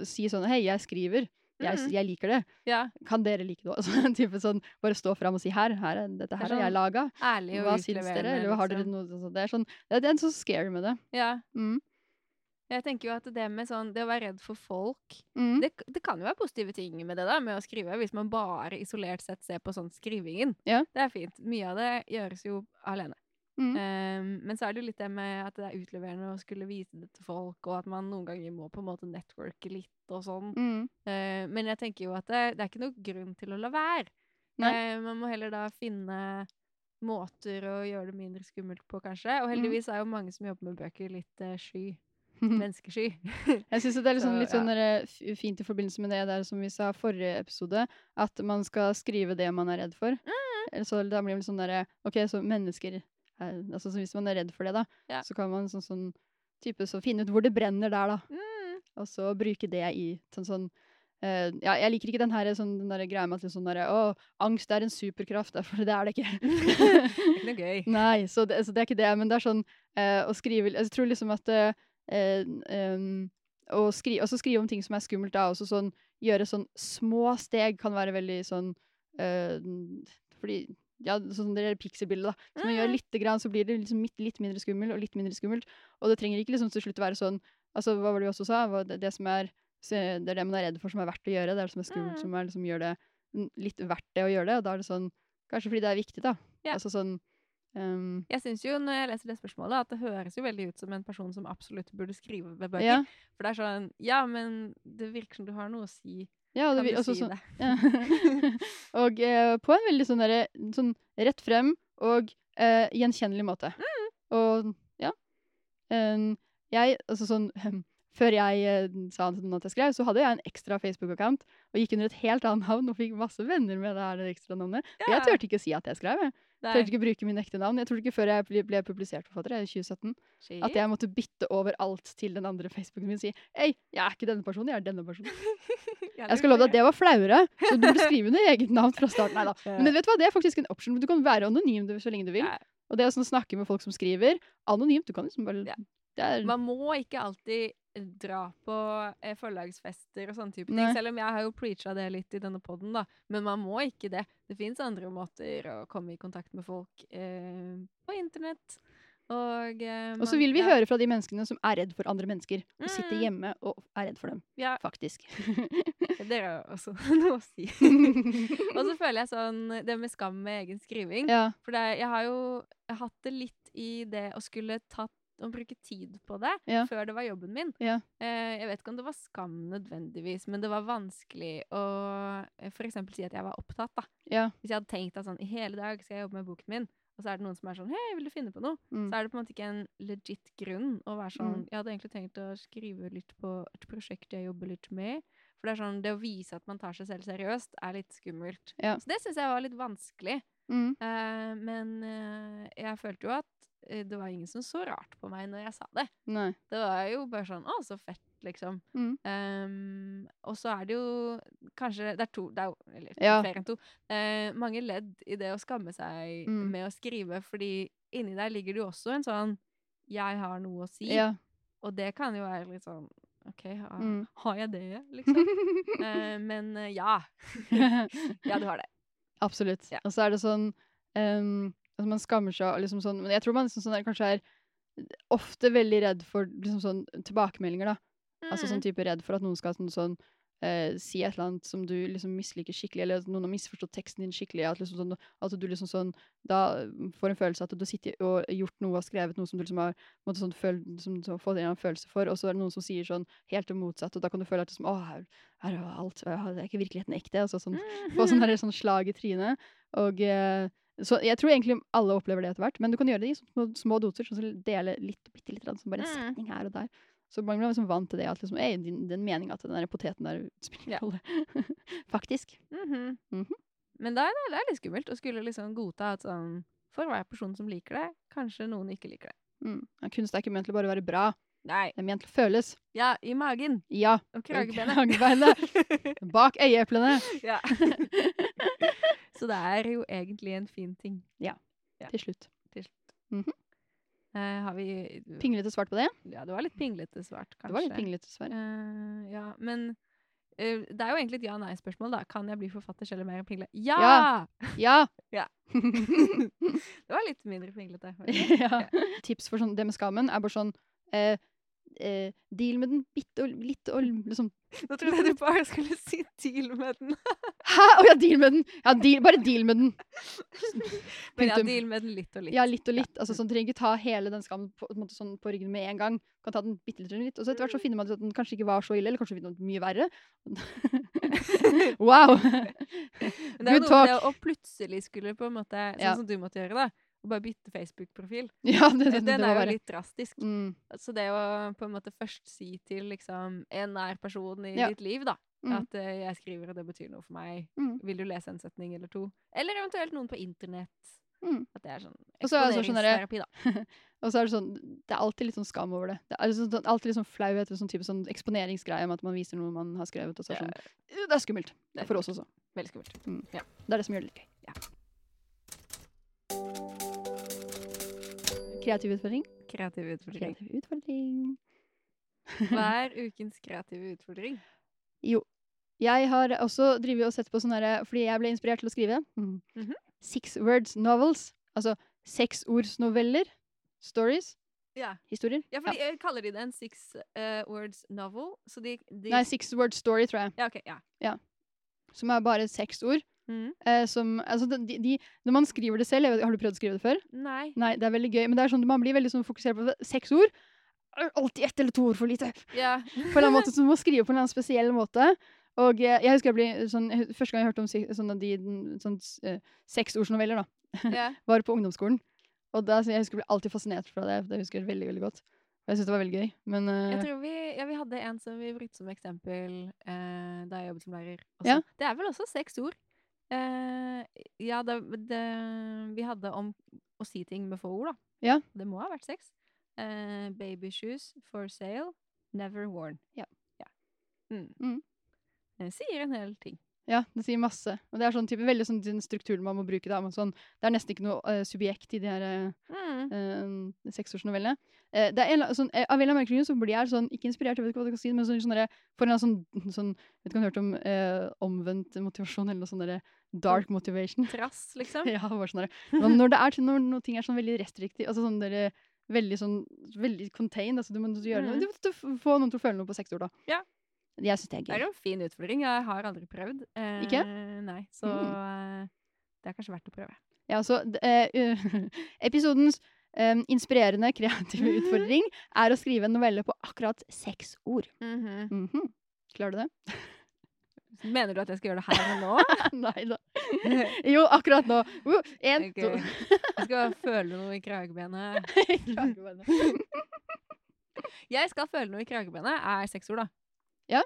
Speaker 1: Si sånn Hei, jeg skriver. Jeg,
Speaker 2: Mhm.
Speaker 1: jeg liker det.
Speaker 2: ja.
Speaker 1: Kan dere like det òg? Altså, type sånn, bare stå fram og si her, her er, dette her
Speaker 2: sånn-
Speaker 1: har jeg laga.
Speaker 2: Ærlig og
Speaker 1: Hva syns
Speaker 2: utleverende,
Speaker 1: dere? Eller har dere
Speaker 2: liksom.
Speaker 1: noe sånt? Det er, sånn, det er- det er så scary med det.
Speaker 2: Ja.
Speaker 1: Mm.
Speaker 2: Jeg tenker jo at det med sånn Det å være redd for folk
Speaker 1: Mm.
Speaker 2: det, det kan jo være positive ting med det, da, med å skrive, hvis man bare isolert sett ser på sånn skrivingen.
Speaker 1: Ja.
Speaker 2: Det er fint. Mye av det gjøres jo alene.
Speaker 1: Mm.
Speaker 2: Ehm, men så er det jo litt det med at det er utleverende å skulle vise det til folk, og at man noen ganger må på en måte networke litt og sånn.
Speaker 1: Mm.
Speaker 2: Eh, men jeg tenker jo at det, det er ikke noen grunn til å la være.
Speaker 1: Nei.
Speaker 2: Eh, man må heller da finne måter å gjøre det mindre skummelt på, kanskje. Og
Speaker 1: Mm.
Speaker 2: heldigvis er jo mange som jobber med bøker, litt eh, sky. Menneskesky.
Speaker 1: Jeg syns det er liksom
Speaker 2: Så,
Speaker 1: litt sånn
Speaker 2: ja.
Speaker 1: der, f- fint i forbindelse med det der som vi sa forrige episode, at man skal skrive det man er redd for.
Speaker 2: Mm.
Speaker 1: Eller Så da blir det sånn derre OK, så mennesker er, altså så Hvis man er redd for det, da,
Speaker 2: Ja.
Speaker 1: så kan man sånn, sånn type så finne ut hvor det brenner der, da.
Speaker 2: Mm.
Speaker 1: Og så bruke det i sånn sånn eh, ja, jeg liker ikke den her sånn, den der greia med at liksom, sånn der, å, angst er en superkraft, da», for det er det ikke.
Speaker 2: Ikke noe gøy.
Speaker 1: Nei, så det, så det er ikke det. Men det er sånn eh, å skrive Jeg tror liksom at eh, eh, em, å skri, også skrive om ting som er skummelt, da. Også sånn gjøre sånn små steg kan være veldig sånn eh, Fordi ja, sånn det der pikselbildet, da. Hvis man
Speaker 2: Mm.
Speaker 1: gjør lite grann, så blir det liksom mitt- litt mindre skummel og litt mindre skummelt. Og det trenger ikke liksom til slutt være sånn Altså, hva var det vi også sa? Hva- Det, det som er se- Det er det man er redd for som er verdt å gjøre. Det er det som er skummelt,
Speaker 2: Mm.
Speaker 1: som er liksom gjør det mm, litt verdt det å gjøre det. Og da er det sånn Kanskje fordi det er viktig, da.
Speaker 2: Ja.
Speaker 1: Altså sånn ehm,
Speaker 2: Mm. Jeg syns jo, når jeg leser det spørsmålet, at det høres jo veldig ut som en person som absolutt burde skrive ved bøker.
Speaker 1: ja.
Speaker 2: For det er sånn Ja, men det virker som du har noe å si.
Speaker 1: ja, og
Speaker 2: Kan
Speaker 1: det, vil-
Speaker 2: du
Speaker 1: også
Speaker 2: si
Speaker 1: sånn,
Speaker 2: det?
Speaker 1: ja. og eh, på en veldig sånn, derre- sånn rett frem og eh, gjenkjennelig måte. Og ja. Em, jeg, altså sånn Før jeg eh, sa til noen at jeg skrev, så hadde jeg en ekstra Facebook-account og gikk under et helt annet navn og fikk masse venner med det her ekstra navnet. Og jeg turte ikke å si at jeg skrev. Jeg
Speaker 2: Nei.
Speaker 1: turte ikke å bruke min ekte navn. Jeg turte ikke før jeg ble, ble publisert forfatter jeg, i 2017.
Speaker 2: Shit.
Speaker 1: At jeg måtte bytte over alt til den andre Facebooken min og si Hei, jeg er ikke denne personen, jeg er denne personen.
Speaker 2: Ja,
Speaker 1: Jeg skal love deg at
Speaker 2: burde
Speaker 1: det var flauere, så du burde skrive under eget navn fra starten. Neida.
Speaker 2: jeg.
Speaker 1: Men vet du hva, det er faktisk en option. Du kan være anonym du- så lenge du vil.
Speaker 2: Ja.
Speaker 1: Og det å sånn snakke med folk som skriver anonymt, du kan liksom bare
Speaker 2: Ja.
Speaker 1: det er,
Speaker 2: Man må ikke alltid dra på eh, forlagsfester og sånne type ting.
Speaker 1: Nei.
Speaker 2: Selv om jeg har jo preacha det litt i denne podden, da. Men man må ikke det. Det fins andre måter å komme i kontakt med folk eh, på internett. Og eh,
Speaker 1: Og så
Speaker 2: man-
Speaker 1: vil vi
Speaker 2: ja,
Speaker 1: høre fra de menneskene som er redd for andre mennesker. Og sitter
Speaker 2: Mm.
Speaker 1: hjemme og er redd for dem,
Speaker 2: Ja,
Speaker 1: faktisk.
Speaker 2: dere har jo også noe å si. og så føler jeg sånn Det med skam med egen skriving.
Speaker 1: ja.
Speaker 2: For det, jeg har jo hatt det litt i det å skulle tatt å bruke tid på det
Speaker 1: Ja.
Speaker 2: før det var jobben min.
Speaker 1: Ja.
Speaker 2: Eh, jeg vet ikke om det var skam nødvendigvis, men det var vanskelig å eh, for eksempel si at jeg var opptatt. da.
Speaker 1: Ja.
Speaker 2: Hvis jeg hadde tenkt at sånn, i hele dag skal jeg jobbe med boken min, og så er det noen som er sånn Hei, vil du finne på noe?
Speaker 1: Mm.
Speaker 2: Så er det på en måte ikke en legit grunn å være sånn Jeg hadde egentlig tenkt å skrive litt på et prosjekt jeg jobber litt med. For det er sånn, det å vise at man tar seg selv seriøst, er litt skummelt.
Speaker 1: Ja.
Speaker 2: Så det syns jeg var litt vanskelig.
Speaker 1: Mm.
Speaker 2: Eh, men eh, jeg følte jo at eh, det var ingen som så rart på meg når jeg sa det.
Speaker 1: Nei.
Speaker 2: Det var jo bare sånn Å, så fett, liksom.
Speaker 1: Mm.
Speaker 2: Ehm, og så er det jo kanskje Det er to, det er jo eller,
Speaker 1: Ja.
Speaker 2: flere enn to. eh, mange ledd i det å skamme seg
Speaker 1: Mm.
Speaker 2: med å skrive, fordi inni der ligger det jo også en sånn Jeg har noe å si.
Speaker 1: Ja.
Speaker 2: Og det kan jo være litt sånn OK, har,
Speaker 1: Mm.
Speaker 2: har jeg det, liksom? Eh, men eh, ja. ja, du har det.
Speaker 1: Absolutt.
Speaker 2: Ja.
Speaker 1: Og så er det sånn ehm, altså Man skammer seg og liksom sånn Men jeg tror man liksom sånn er, kanskje er ofte veldig redd for liksom sånn tilbakemeldinger, da. Altså
Speaker 2: Mm.
Speaker 1: sånn type redd for at noen skal sånn, sånn eh, si et eller annet som du liksom misliker skikkelig, eller at noen har misforstått teksten din skikkelig, at, liksom sånn, at du liksom sånn da får en følelse av at du har sittet og gjort noe og skrevet noe som du liksom har på en måte sånn, føl, som, du har fått en eller annen følelse for, og så er det noen som sier sånn helt det motsatte, og da kan du føle at liksom, å, her, her er alt, øh, det er ikke virkeligheten ekte, og så sånn, få sånn der sånn slag i trynet, og eh, så jeg tror egentlig alle opplever det etter hvert, men du kan gjøre det i små, små doser, sånn som dele litt og bitte litt, som bare en
Speaker 2: Mm.
Speaker 1: setning her og der. Så mange blir liksom vant til det, at liksom, «Ei, din, den meningen at den der poteten der spiller ingen
Speaker 2: Ja.
Speaker 1: rolle. Faktisk.
Speaker 2: Mhm.
Speaker 1: Mhm.
Speaker 2: Men det er, det er litt skummelt å skulle liksom godta at sånn For hver person som liker det, kanskje noen ikke liker det.
Speaker 1: Mm. Ja, kunst er ikke ment til å bare være bra,
Speaker 2: Nei.
Speaker 1: det er ment til å føles.
Speaker 2: Ja, i magen.
Speaker 1: Ja,
Speaker 2: Og
Speaker 1: i
Speaker 2: kragebeinet.
Speaker 1: kragebeinet, bak øyeeplene,
Speaker 2: ja. Så det er jo egentlig en fin ting.
Speaker 1: til slutt.
Speaker 2: Eh, har vi
Speaker 1: Pinglete svart på det?
Speaker 2: Ja, det var litt pinglete svart, kanskje.
Speaker 1: Det var litt pinglete, dessverre.
Speaker 2: Eh, ja, men eh, det er jo egentlig et ja-nei-spørsmål, da. Kan jeg bli forfatter selv om jeg er pingle? Ja!
Speaker 1: Ja! Ja!
Speaker 2: Ja. Det var litt mindre pinglete.
Speaker 1: ja. Tips for sånn, det med skammen er bare sånn eh, eh, Deal med den bitte og litt og liksom
Speaker 2: Nå trodde jeg du bare skulle si deal med den.
Speaker 1: Hæ? Å ja, deal med den! Ja, deal, bare deal med den.
Speaker 2: Men ja,
Speaker 1: Punktum.
Speaker 2: deal med den litt og litt.
Speaker 1: Ja, litt og litt. Altså, sånn, du trenger ikke ta hele den skammen på, på, en måte sånn, på ryggen med en gang. Du kan ta den bitte litt, og litt, og så etter hvert så finner man ut at den kanskje ikke var så ille, eller kanskje finner man ut mye verre. wow!
Speaker 2: Men det er
Speaker 1: Good
Speaker 2: jo noe med
Speaker 1: talk.
Speaker 2: det å plutselig skulle på en måte, sånn
Speaker 1: Ja.
Speaker 2: som du måtte gjøre, da, og bare bytte Facebook-profil.
Speaker 1: Ja, det, det, det,
Speaker 2: Den
Speaker 1: var
Speaker 2: er jo
Speaker 1: verre.
Speaker 2: litt drastisk.
Speaker 1: Mm,
Speaker 2: Så det å på en måte først si til liksom, en nær person i
Speaker 1: Ja.
Speaker 2: ditt liv, da,
Speaker 1: Mm.
Speaker 2: at eh, jeg skriver og det betyr noe for meg,
Speaker 1: Mm.
Speaker 2: vil du lese en setning eller to? Eller eventuelt noen på internett.
Speaker 1: Mm.
Speaker 2: At det er sånn
Speaker 1: Og så er det sånn derre-
Speaker 2: eksponeringsterapi, da.
Speaker 1: Og så er det sånn, det er alltid litt sånn skam over det. Det er sånn, sånn- alltid litt sånn flauhet og sånn type sånn eksponeringsgreie med at man viser noe man har skrevet. Og så er det sånn, «Øh, det er skummelt.
Speaker 2: Det er
Speaker 1: For oss også.
Speaker 2: Veldig skummelt.
Speaker 1: Det er det som gjør det litt gøy.
Speaker 2: Ja.
Speaker 1: Kreativ utfordring.
Speaker 2: Kreativ utfordring.
Speaker 1: Kreativ utfordring.
Speaker 2: Hver ukens kreative utfordring.
Speaker 1: Jeg har også drivet og sett på sånne her, fordi jeg ble inspirert til å skrive.
Speaker 2: Mhm.
Speaker 1: Six words novels. Altså seksordsnoveller. Stories.
Speaker 2: Ja.
Speaker 1: Historier.
Speaker 2: Ja, for de eh, kaller de det en six eh, words novel. Så de, de
Speaker 1: Nei, six word story, tror jeg.
Speaker 2: Ja, OK. Ja.
Speaker 1: Som er bare seks ord.
Speaker 2: Mhm.
Speaker 1: Eh, som, altså, de, de, når man skriver det selv jeg vet, Har du prøvd å skrive det før?
Speaker 2: Nei.
Speaker 1: Nei, det er veldig gøy. Men det er sånn, man blir veldig sånn, fokusert på det. seks ord. er Alltid ett eller to ord for lite.
Speaker 2: Ja.
Speaker 1: på en eller annen måte, så du må skrive på en eller annen spesiell måte. Og eh, jeg husker jeg ble, sånn, jeg hus- Første gang jeg hørte om si- sånne, de, den- sånn, s- eh, seksordsnoveller, da,
Speaker 2: ja.
Speaker 1: var på ungdomsskolen. Og da, så jeg husker jeg ble alltid fascinert fra det. Det husker jeg veldig veldig godt. Og jeg synes det var veldig gøy. Men eh,
Speaker 2: Jeg tror vi, ja, vi hadde en som vi brukte som eksempel eh, da jeg jobbet som lærer. Også.
Speaker 1: Ja.
Speaker 2: Det er vel også seks ord. Eh, ja, det, det, vi hadde om å si ting med få ord, da.
Speaker 1: Ja.
Speaker 2: Det må ha vært seks. Eh, baby shoes for sale, never worn.
Speaker 1: Ja.
Speaker 2: Mm.
Speaker 1: Mm.
Speaker 2: Det sier en hel ting.
Speaker 1: ja, det sier masse. Og det er sånn type, veldig sånn den strukturen man må bruke. da, men sånn, Det er nesten ikke noe eh, subjekt i de her eh,
Speaker 2: Mm.
Speaker 1: eh, seksårsnovellene. Eh, det er en, eller annen- sånn, eh, av en eller annen merkelig grunn så blir jeg sånn, ikke inspirert, jeg vet ikke hva jeg skal si, men sånn, sånn, derre- for en eller annen sånn, sånn vet ikke om du har hørt om eh, omvendt motivasjon, eller noe sånn derre dark motivation.
Speaker 2: Trass, liksom.
Speaker 1: ja, bare sånn derre- Men når det er til- når noe ting er sånn veldig restriktivt, altså sånn derre veldig sånn, veldig contained, altså du må du gjøre noe,
Speaker 2: Mhm.
Speaker 1: du, du, få noen til å føle noe på seks ord da.
Speaker 2: Ja.
Speaker 1: Jeg synes det er
Speaker 2: Det er
Speaker 1: gøy.
Speaker 2: jo en fin utfordring. Jeg har aldri prøvd. Eh,
Speaker 1: Ikke?
Speaker 2: Nei, så eh, det er kanskje verdt å prøve.
Speaker 1: Ja, så, d- eh, u- episodens eh, inspirerende kreative
Speaker 2: Mhm.
Speaker 1: utfordring er å skrive en novelle på akkurat seks ord. Mhm. Klarer du det?
Speaker 2: Mener du at jeg skal gjøre det her og nå?
Speaker 1: Nei da. Jo, akkurat nå. Uh, en,
Speaker 2: Ok. Jeg skal føle noe i kragebenet.
Speaker 1: to
Speaker 2: Jeg skal føle noe i kragebenet er seks ord, da.
Speaker 1: Ja.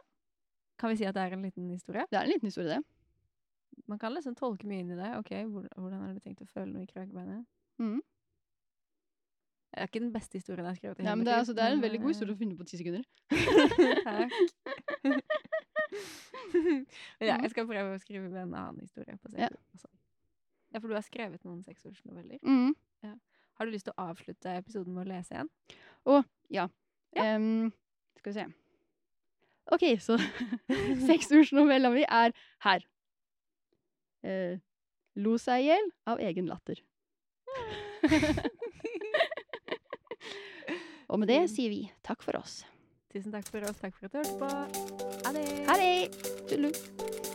Speaker 2: Kan vi si at det er en liten historie?
Speaker 1: Det er en liten historie, det.
Speaker 2: Man kan liksom tolke mye inn i det. Ok, hvor- Hvordan har du tenkt å føle noe i kragebenet?
Speaker 1: Mhm.
Speaker 2: Mm. Det er ikke den beste historien jeg har skrevet. i
Speaker 1: Nei,
Speaker 2: hele
Speaker 1: men
Speaker 2: mitt
Speaker 1: det, er,
Speaker 2: liv,
Speaker 1: altså, det er en
Speaker 2: men,
Speaker 1: veldig god historie å finne på ti sekunder.
Speaker 2: eh, Takk. Men ja, jeg skal prøve å skrive en annen historie på seks
Speaker 1: Mm. Ja.
Speaker 2: ord. også. Ja, for du har skrevet noen seksordsnoveller.
Speaker 1: Mhm.
Speaker 2: Har du lyst til å avslutte episoden med å lese en? Ja.
Speaker 1: Em, skal vi se. OK, så seksordsnovella mi er her. Eh, lo seg i hjel av egen latter. Og med det
Speaker 2: Fin.
Speaker 1: Mm. sier vi takk for oss.
Speaker 2: Tusen takk for oss. Takk for at du hørte på. Ha det.
Speaker 1: Ha det! Tudelu.